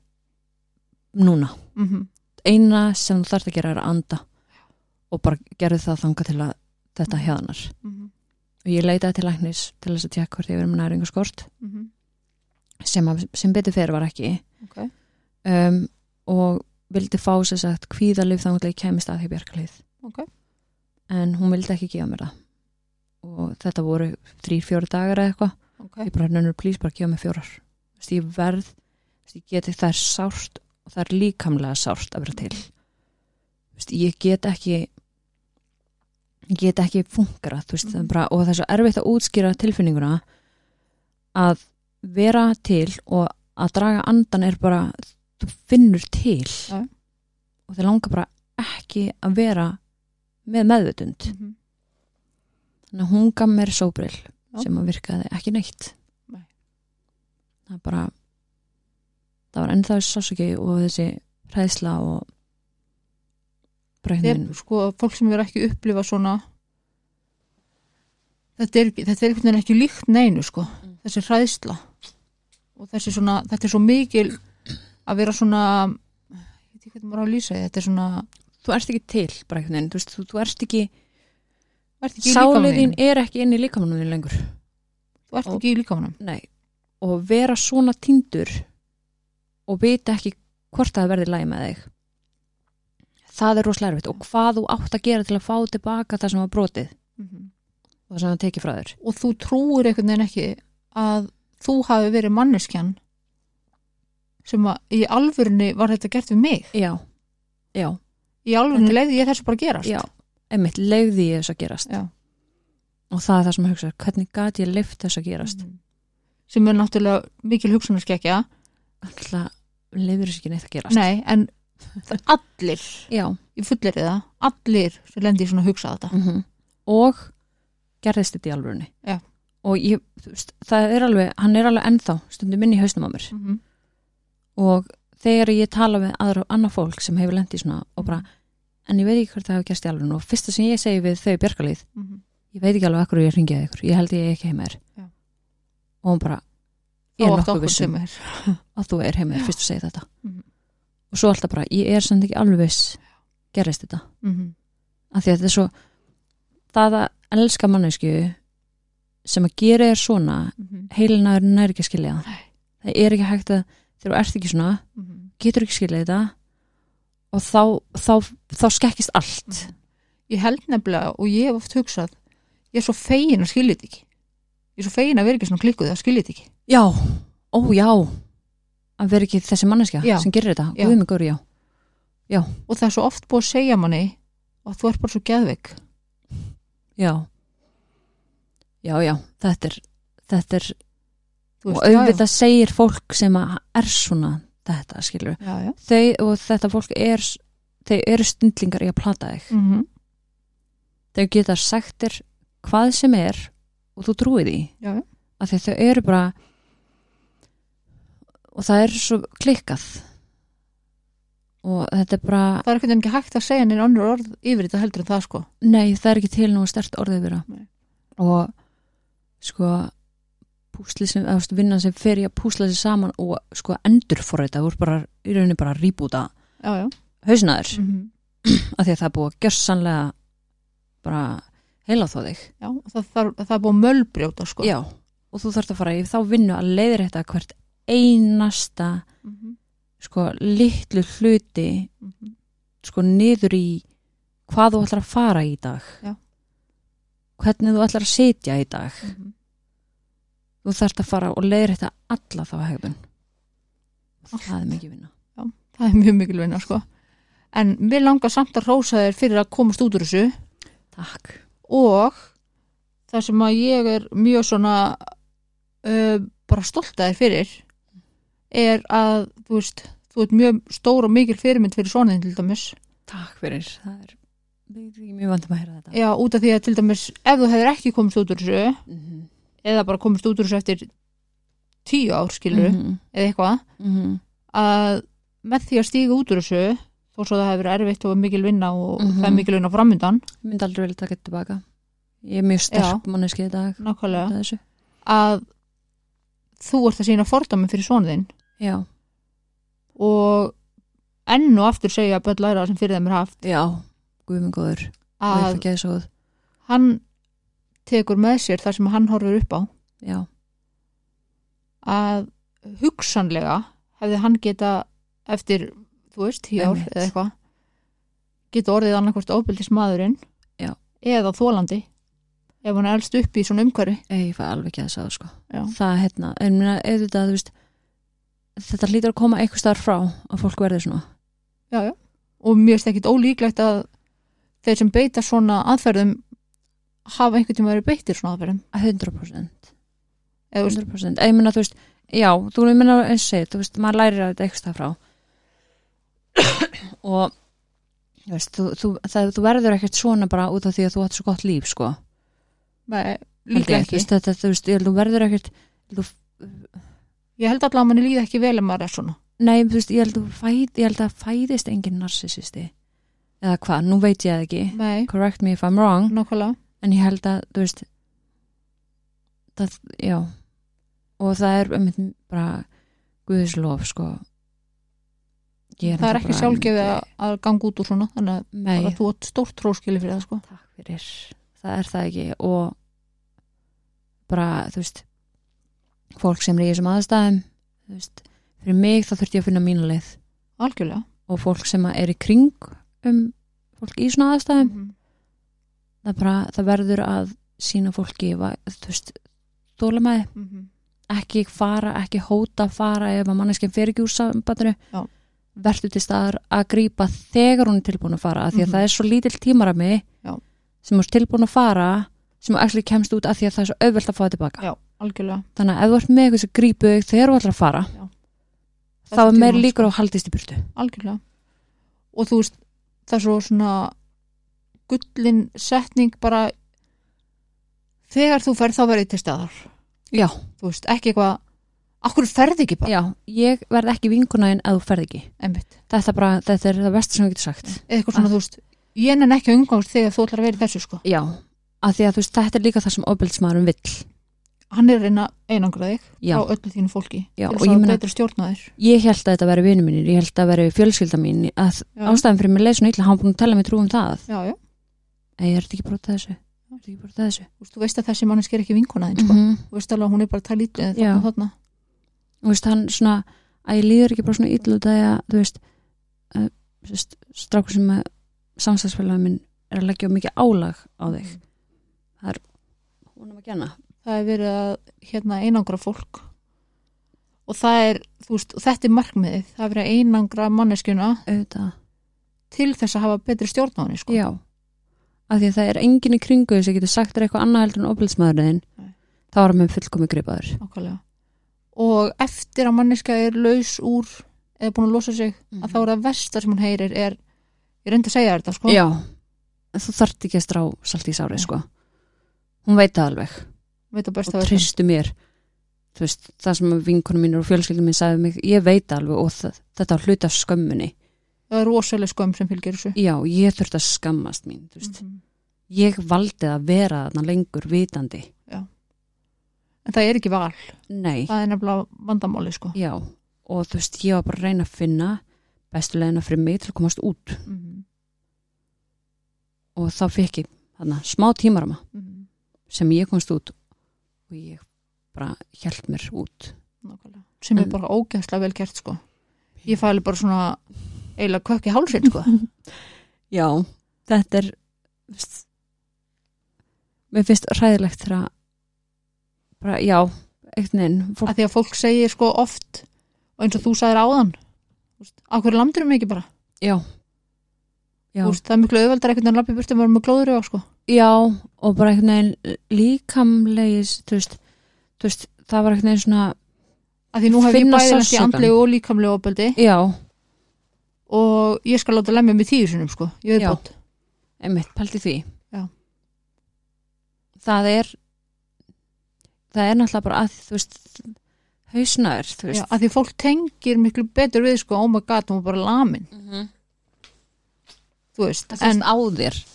núna mm eina sem þú þarft að gera er að anda og bara gerði það þangað til að þetta hjáðanar -hmm. og ég leitaði til læknis til þess að tjekka hvort ég verið með næringaskort mhm, sem, að- sem betur fyrir var ekki Ok. um, og vildi fá sér sagt kvíðalif þangað til ég kemist að því bjarkalið Ok. en hún vildi ekki gefa mér það og þetta voru þrír, fjóri dagar eða eitthvað Ok ég bara nennur please bara gefa mig fjórar Þú veist, ég verð, þú veist, ég geti það er sárt og það er líkamlega sárt að vera til Þú veist, ég get ekki ég get ekki funkarað þú veist, það er bara, og það er svo erfitt að útskýra tilfinninguna að vera til og að draga andan er bara þú finnur til Já. og það langar bara ekki að vera með meðvutund Mhm. þannig að hún gaf mér sóbrill Já. sem að virkaði ekki neitt Nei. það bara það var ennþá sásöki og þessi hræðsla og Þetta breynin er sko fólk sem verður ekki upplifa svona þetta er, þetta er einhvern veginn ekki líkt neinu sko, þessi hræðsla og þessi svona, þetta er svo mikil að vera svona ég veit ekki hvernig maður á að lýsa því, þetta er svona þú ert ekki til breynin, þú veist, þú, þú ert ekki þú ert ekki í líkamanum sáliðin þínum. er ekki inn í líkamanum þín lengur þú ert ekki í líkamanum Nei. og vera svona tindur og vita ekki hvort það verði læg með þig það er rosalega erfitt og hvað þú átt að gera til að fá tilbaka það sem var brotið og það sem það tekið frá þér og þú trúir einhvern veginn ekki að þú hafi verið manneskjan sem að í alvörunni var þetta gert við mig já, já í alvörunni leiði ég þessu bara að gerast Já, einmitt, leiði ég þess að gerast Já. og það er það sem að hugsa hvernig gat ég leift þess að gerast Mhm. sem er náttúrulega mikil hugsunarskekkja alltaf leiður þess ekki neitt að gerast Mm. Nei, en allir, Já, ég fullir það, allir sem lendir í svona að hugsa þetta. mm og gerðist þetta í alvörunni Mhm. Já. og ég, þú veist, það er alveg hann er alveg ennþá stundum inn í hausnum á mér Mm -hmm. og þegar ég tala við aðra annað fólk sem hefur lent í svona og bara, en ég veit ekki hvort það hefur gerst í alvörunni og fyrsta sem ég segi við þau í bjarkalið mhm. ég veit ekki alveg akkur ég ringiði ykkur ég held ég eigi ekki heima þér Já. og hún bara, ég Þá er átt nokkuð okkur vissum sem er. um að þú er heimir fyrst að segja þetta Mhm. og svo alltaf bara, ég er samt ekki alveg viss gerist þetta, Mm -hmm. af því að þetta er svo það að elska mannesku sem að gera þér svona mhm, heilinaður nær ekki að skilja það. Nei. það er ekki hægt að þegar þú ert ekki svona, mhm. getur ekki skilja þetta og þá þá, þá skekkist allt Mm. Ég held nefnilega og ég hef oft hugsað, ég er svo fegin að skilja þetta ekki. Ég er svo fegin að vera ekki svona klikkuð að skilja þetta ekki. já, ó já að vera ekki þessi manneskja Já. sem gerir þetta, Já. guðmig góri já Og það er svo oft búið að segja manni og þú ert bara svo geðveik. Já já, já, þetta er, þetta er Þú og veist, auðvitað segir fólk sem að er svona þetta, skilur já, já, já. þau og þetta fólk er þau eru stundlingar í að plata þig Mm -hmm. þau geta sagt þér hvað sem er og þú trúið því já, já. af því að þau eru bara og það er svo klikkað og þetta er bara það er einhvern veginn ekki hægt að segja neina önnur orð yfir þetta heldur en það sko nei, það er ekki til nú stert orðið vera Nei. og sko púsli sem, eða þú veist, vinnan sem fer í að púsla sér saman og sko endurforreita þú ert bara, í rauninni bara að rýbúta já, já. hausnaður Mm af því að það er búið að gjörsanlega bara heila þá þig já og það, það, það er búið að mölbrjóta sko já, og þú þarft að fara í þá vinnu að leiðir þetta hvert einasta mm -hmm. sko litlu hluti Mhm. sko niður í hvað þú ætlar að fara í dag Já. Mm. hvernig þú ætlar að sitja í dag mhm. þú þarft að fara og leiðir þetta alla þá hegðun það er mikið vinna það er mjög mikil vinna sko en mér langar samt að rósa þér fyrir að komast út úr þessu takk og það sem að ég er mjög svona uh, bara stolt að þér fyrir er að þú veist þú ert mjög stór og mikil fyrirmynd fyrir svonin til dæmis takk fyrir, það er mjög, mjög vandum að heyra þetta já, út af því að til dæmis ef þú hefur ekki komist út úr þessu mm -hmm. eða bara komist út úr þessu eftir tíu ár skilur Mhm. eða eitthvað að með því að stíga út úr þessu þó svo það hefur verið erfitt og mikil vinna og Mhm. það er mikil vinna framundan ég myndi aldrei vilja taka þetta tilbaka ég er mjög sterk manneski í dag nákvæmlega, út af þessu. að þú ert að sína fordæmi fyrir svona þinn já, og enn og aftur segja að börn læra það sem fyrir þeim er haft já, guðminn góður og ég að fikk ég svo hann tekur með sér það sem hann horfir upp á já, að hugsanlega hefði hann geta eftir, þú veist, tíu ár Einmitt. eða eitthvað geta orðið annarkvort óbyldis maðurinn Já. eða þólandi ef hann er elst upp í svona umhverfi ég fæ alveg ekki að þessu sko Já. það hérna, en minna, auðvitað, þú veist þetta hlýtur að koma eitthvað starf frá að fólk verður svona já, já. og mér finnst ekkit ólíklegt að þeir sem beita svona aðferðum hafa einhvern tíma verið beittir svona aðferðum 100%, eða, þú veist, 100%. Ég minna, þú veist, já, þú ég minna eins og segir, þú veist, maður lærir að þetta eitthvað starf frá og þú veist, þú, þú, það, þú verður ekkert svona bara út af því að þú átt svo gott líf sko nei, Held ég, líklega þú ekki veist, þetta, þú veist, ég- þú verður ekkert þú, ég held allavega að manni líði ekki vel ef maður er svona nei, þú veist, ég held, að þú fæð, ég held að fæðist engin narcissisti eða hvað, nú veit ég það ekki nei, correct me if I'm wrong nákvæmlega en ég held að, þú veist það, já og það er um, bara guðislof, sko ég það er náttúrulega ekki bara- sjálfgefið að, að ganga út úr svona þannig að nei, bara þú átt stórt tróskili fyrir það sko. takk fyrir það er það ekki og bara, þú veist fólk sem er í þessum aðstæðum þú veist, fyrir mig þá þurfti ég að finna mína leið algjörlega og fólk sem að er í kring um fólk í svona aðstæðum Mhm. það, bara, það verður að sína fólki va- þú veist, þólamæði Mhm. ekki fara, ekki hóta að fara ef að manneskinn fer ekki úr sambandinu Já. verður til staðar að grípa þegar hún er tilbúin að fara af því að Mhm. það er svo lítill tímarami Já. sem hún er tilbúin að fara sem hún ekki kemst út af því að það er svo auðvelt að fá það tilbaka já, algjörlega þannig að ef þú ert með eitthvað sem grípu þig þegar þú ætlar að fara Já. þá er Þessi meir tíma, sko. líkur á að haldist í burtu algjörlega og þú veist, það er svo svona gullin setning bara þegar þú ferð þá verið til staðar já, þú veist, ekki eitthvað akkur ferði ekki bara, já, ég verð ekki vinkunaðin að þú ferð ekki einmitt þetta, bara, þetta er það besta sem þú getur sagt eða eitthvað Ah. svona, þú veist, ég nenn ekki að umgangast þegar þú ætlar að vera í þessu sko já, af því að þú veist, þetta er líka það sem ofbeldismaðurum vill hann er að reyna einangra þig Já. frá öllu þínu fólki Já, til og þess ég að meina- betra stjórna þér ég held að þetta veri vinnu mínir, ég held að þetta veri fjölskylda mín að Já. ástæðan fyrir mér leið svona illa, hann var búin að tala mér trú um það já, já, en ég er þetta ekki brotað þessu er þetta ekki brotað þessu þú veist, þú veist að þessi manneski er ekki vinkona þín mm sko. -hmm. þú veist alveg að hún er bara að tala ítlu Já. þarna, þarna. veist, hann svona, að ég líður ekki bara svona illa út af því að, þú veist, að, þú veist strákur sem að samstagsfélagin minn er að leggja of mikið álag á þig það er honum að genna það er verið að hérna, einangra fólk og það er, þú veist, og þetta er markmiðið það er verið að einangra manneskjuna auðvitað, til þess að hafa betri stjórn á henni sko. já af því að það er enginn í kringu þess að geta sagt þér eitthvað annað heldur en ofbilsmaðurinn Nei. þinn þá erum við fullkomi gripaður okkarlega og eftir að manneska er laus úr eða búin að losa sig Mhm. að þá er það versta sem hún heyrir er ég reyndi að segja þér þetta sko Já, en þú þart ekki að strá salt í sárið, sko. Hún veit það alveg veit að og besta versta. tristu mér. Þú veist, það sem vinkunum mínur og fjölskyldum minn sagði við mig, ég veit það alveg og það, þetta var hluti af skömmunni. það er rosalega skömm sem fylgir þessu Já, ég þurfti að skammast mín, þú veist. Mhm. Ég valdi að vera þarna lengur vitandi. en það er ekki val, Nei, það er nefnilega vandamáli sko já, og þú veist, ég var bara að reyna að finna bestu leiðina fyrir mig til að komast út Mhm. og þá fekk ég þarna smá tímarama Mhm. sem ég komst út og ég bara hjælt mér út. Nákvæmlega. sem er En- bara ógæslega vel gert sko ég fæli bara svona eiginlega kökk í hálsinn sko Já, þetta er veist, mér finnst ræðilegt þegar að bara, já, einhvern veginn fólk, að því að fólk segir sko oft og eins og þú sagðir áðan að hverju landurum ekki bara já já, Úst, það er miklu auðveldar ekkert en lappi burtum varum með glóður á sko já og bara einhvern veginn líkamlegis þú veist, þú veist það var einhvern veginn svona, að því nú hef ég Finna bæði lent í sársaukann. andlegu og líkamlegu opeldi já, og ég skal láta lemja mig tíu sinum sko ég er Já. bótt einmitt, pælti því Já. það er það er náttúrulega bara að þú veist, hausnaður þú veist, að því fólk tengir miklu betur við sko oh my god, hún var bara lamin Mhm. þú veist, það en, finnst á þér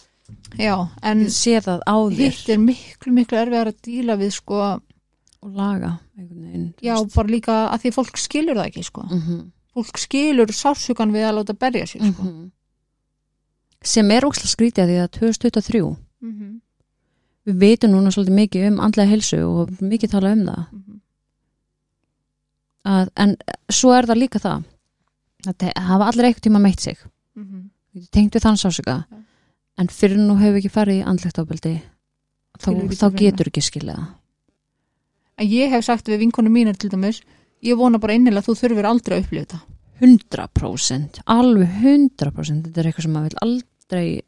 já, en ég sé það á þér hitt er miklu miklu erfiðar að díla við sko og laga einhvern veginn þú já, veist. bara líka að því fólk skilur það ekki sko Mhm, fólk skilur sásugan við að láta berja sér sko. mhm. sem er óksla skrítið af því að 2023 mm við veitum núna svolítið mikið um andlega helsu og mikið tala um það Mhm. að, en svo er það líka það að það hafa allir eitthvað tíma meitt sig mhm. Við tengt við þann sásuga Já. en fyrir nú hefur ekki farið í andlegt ábeldi þá, Skilur ekki þá tilfinninguna. getur ekki skilja það en ég hef sagt við vinkonum mínar til dæmis ég vona bara innilega að þú þurfir aldrei að upplifa þetta 100% alveg 100% þetta er eitthvað sem maður vil aldrei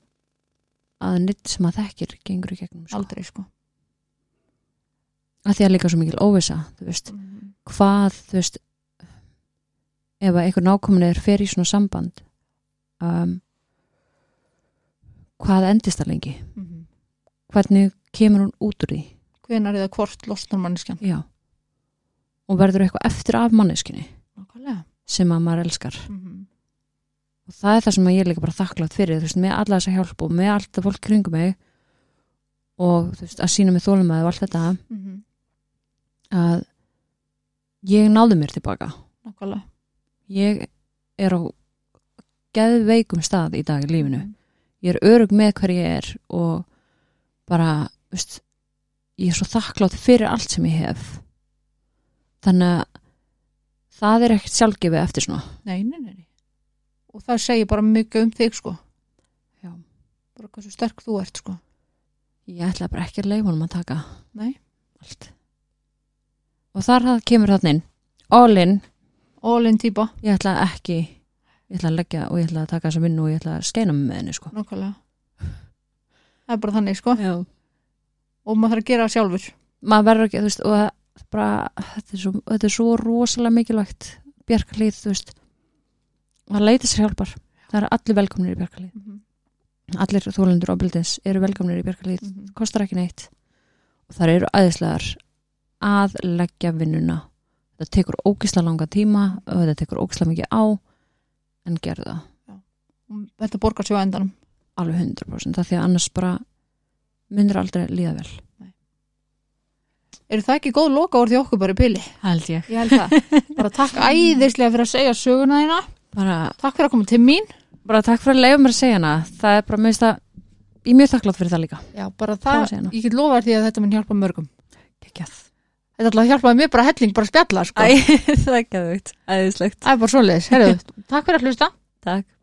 að nýtt sem maður þekkir gengur í gegnum sko. aldrei sko að því að líka svo mikil óvisa þú veist, hvað þú veist ef að einhver nákomin er fer í svona samband um, hvað endist það lengi Mhm. hvernig kemur hún út úr því hvenær eða hvort losnar manneskjan já og verður eitthvað eftir af manneskinni nákvæmlega sem að maður elskar mm og það er það sem að ég er líka bara þakklátt fyrir þú veist, með alla þessa hjálp og með allt það fólk kringum mig og þú veist, að sína með þólumæði og allt þetta Mhm, að ég náði mér tilbaka nákvæmlega ég er á geðveikum stað í dag í lífinu Mhm. ég er örug með hver ég er og bara veist, ég er svo þakklátt fyrir allt sem ég hef þannig að það er ekkert sjálfgefið eftir svona nei, nei, nei, nei og það segir bara mikið um þig sko Já. bara hversu sterk þú ert sko ég ætla bara ekki að leifa honum að taka Nei. allt og þar það kemur þarna inn all in, ólinn típa, ég ætla ekki ég ætla að leggja og ég ætla að taka þessa vinnu og ég ætla að skeina mig með henni sko nákvæmlega það er bara þannig sko Já. og maður þarf að gera það sjálfur maður verður ekki, þú veist, og það bara, þetta er svo, þetta er svo rosalega mikilvægt bjarkalíð, þú veist maður leita sér hjálpar það eru allir velkomnir í bjarkalíð mm -hmm. allir þólendur ábyrðins eru velkomnir í bjarkalíð Mm -hmm. kostar ekki neitt og þar eru aðeinslegar að leggja vinnuna þetta tekur ógisla langa tíma og þetta tekur ógisla mikið á en gerðu það þetta borgar sig á endanum alveg 100% af því að annars bara myndir aldrei líða vel eru það ekki góð loka orð því okkur bara í pili held ég ég held það, bara takk æðislega fyrir að segja söguna þína bara, takk fyrir að koma til mín bara takk fyrir að leiða mér að segja hana það er bara mjög það ég er mjög þakklátt fyrir það líka já, bara Gaman það, að segja hana. ég get lofa því að þetta mun hjálpa mörgum Kekjað. þetta ætlaði að hjálpaði mér bara helling, bara að spjalla sko. það er gæðugt, æðislegt það er bara svoleiðis, herðu, takk fyrir að hlusta takk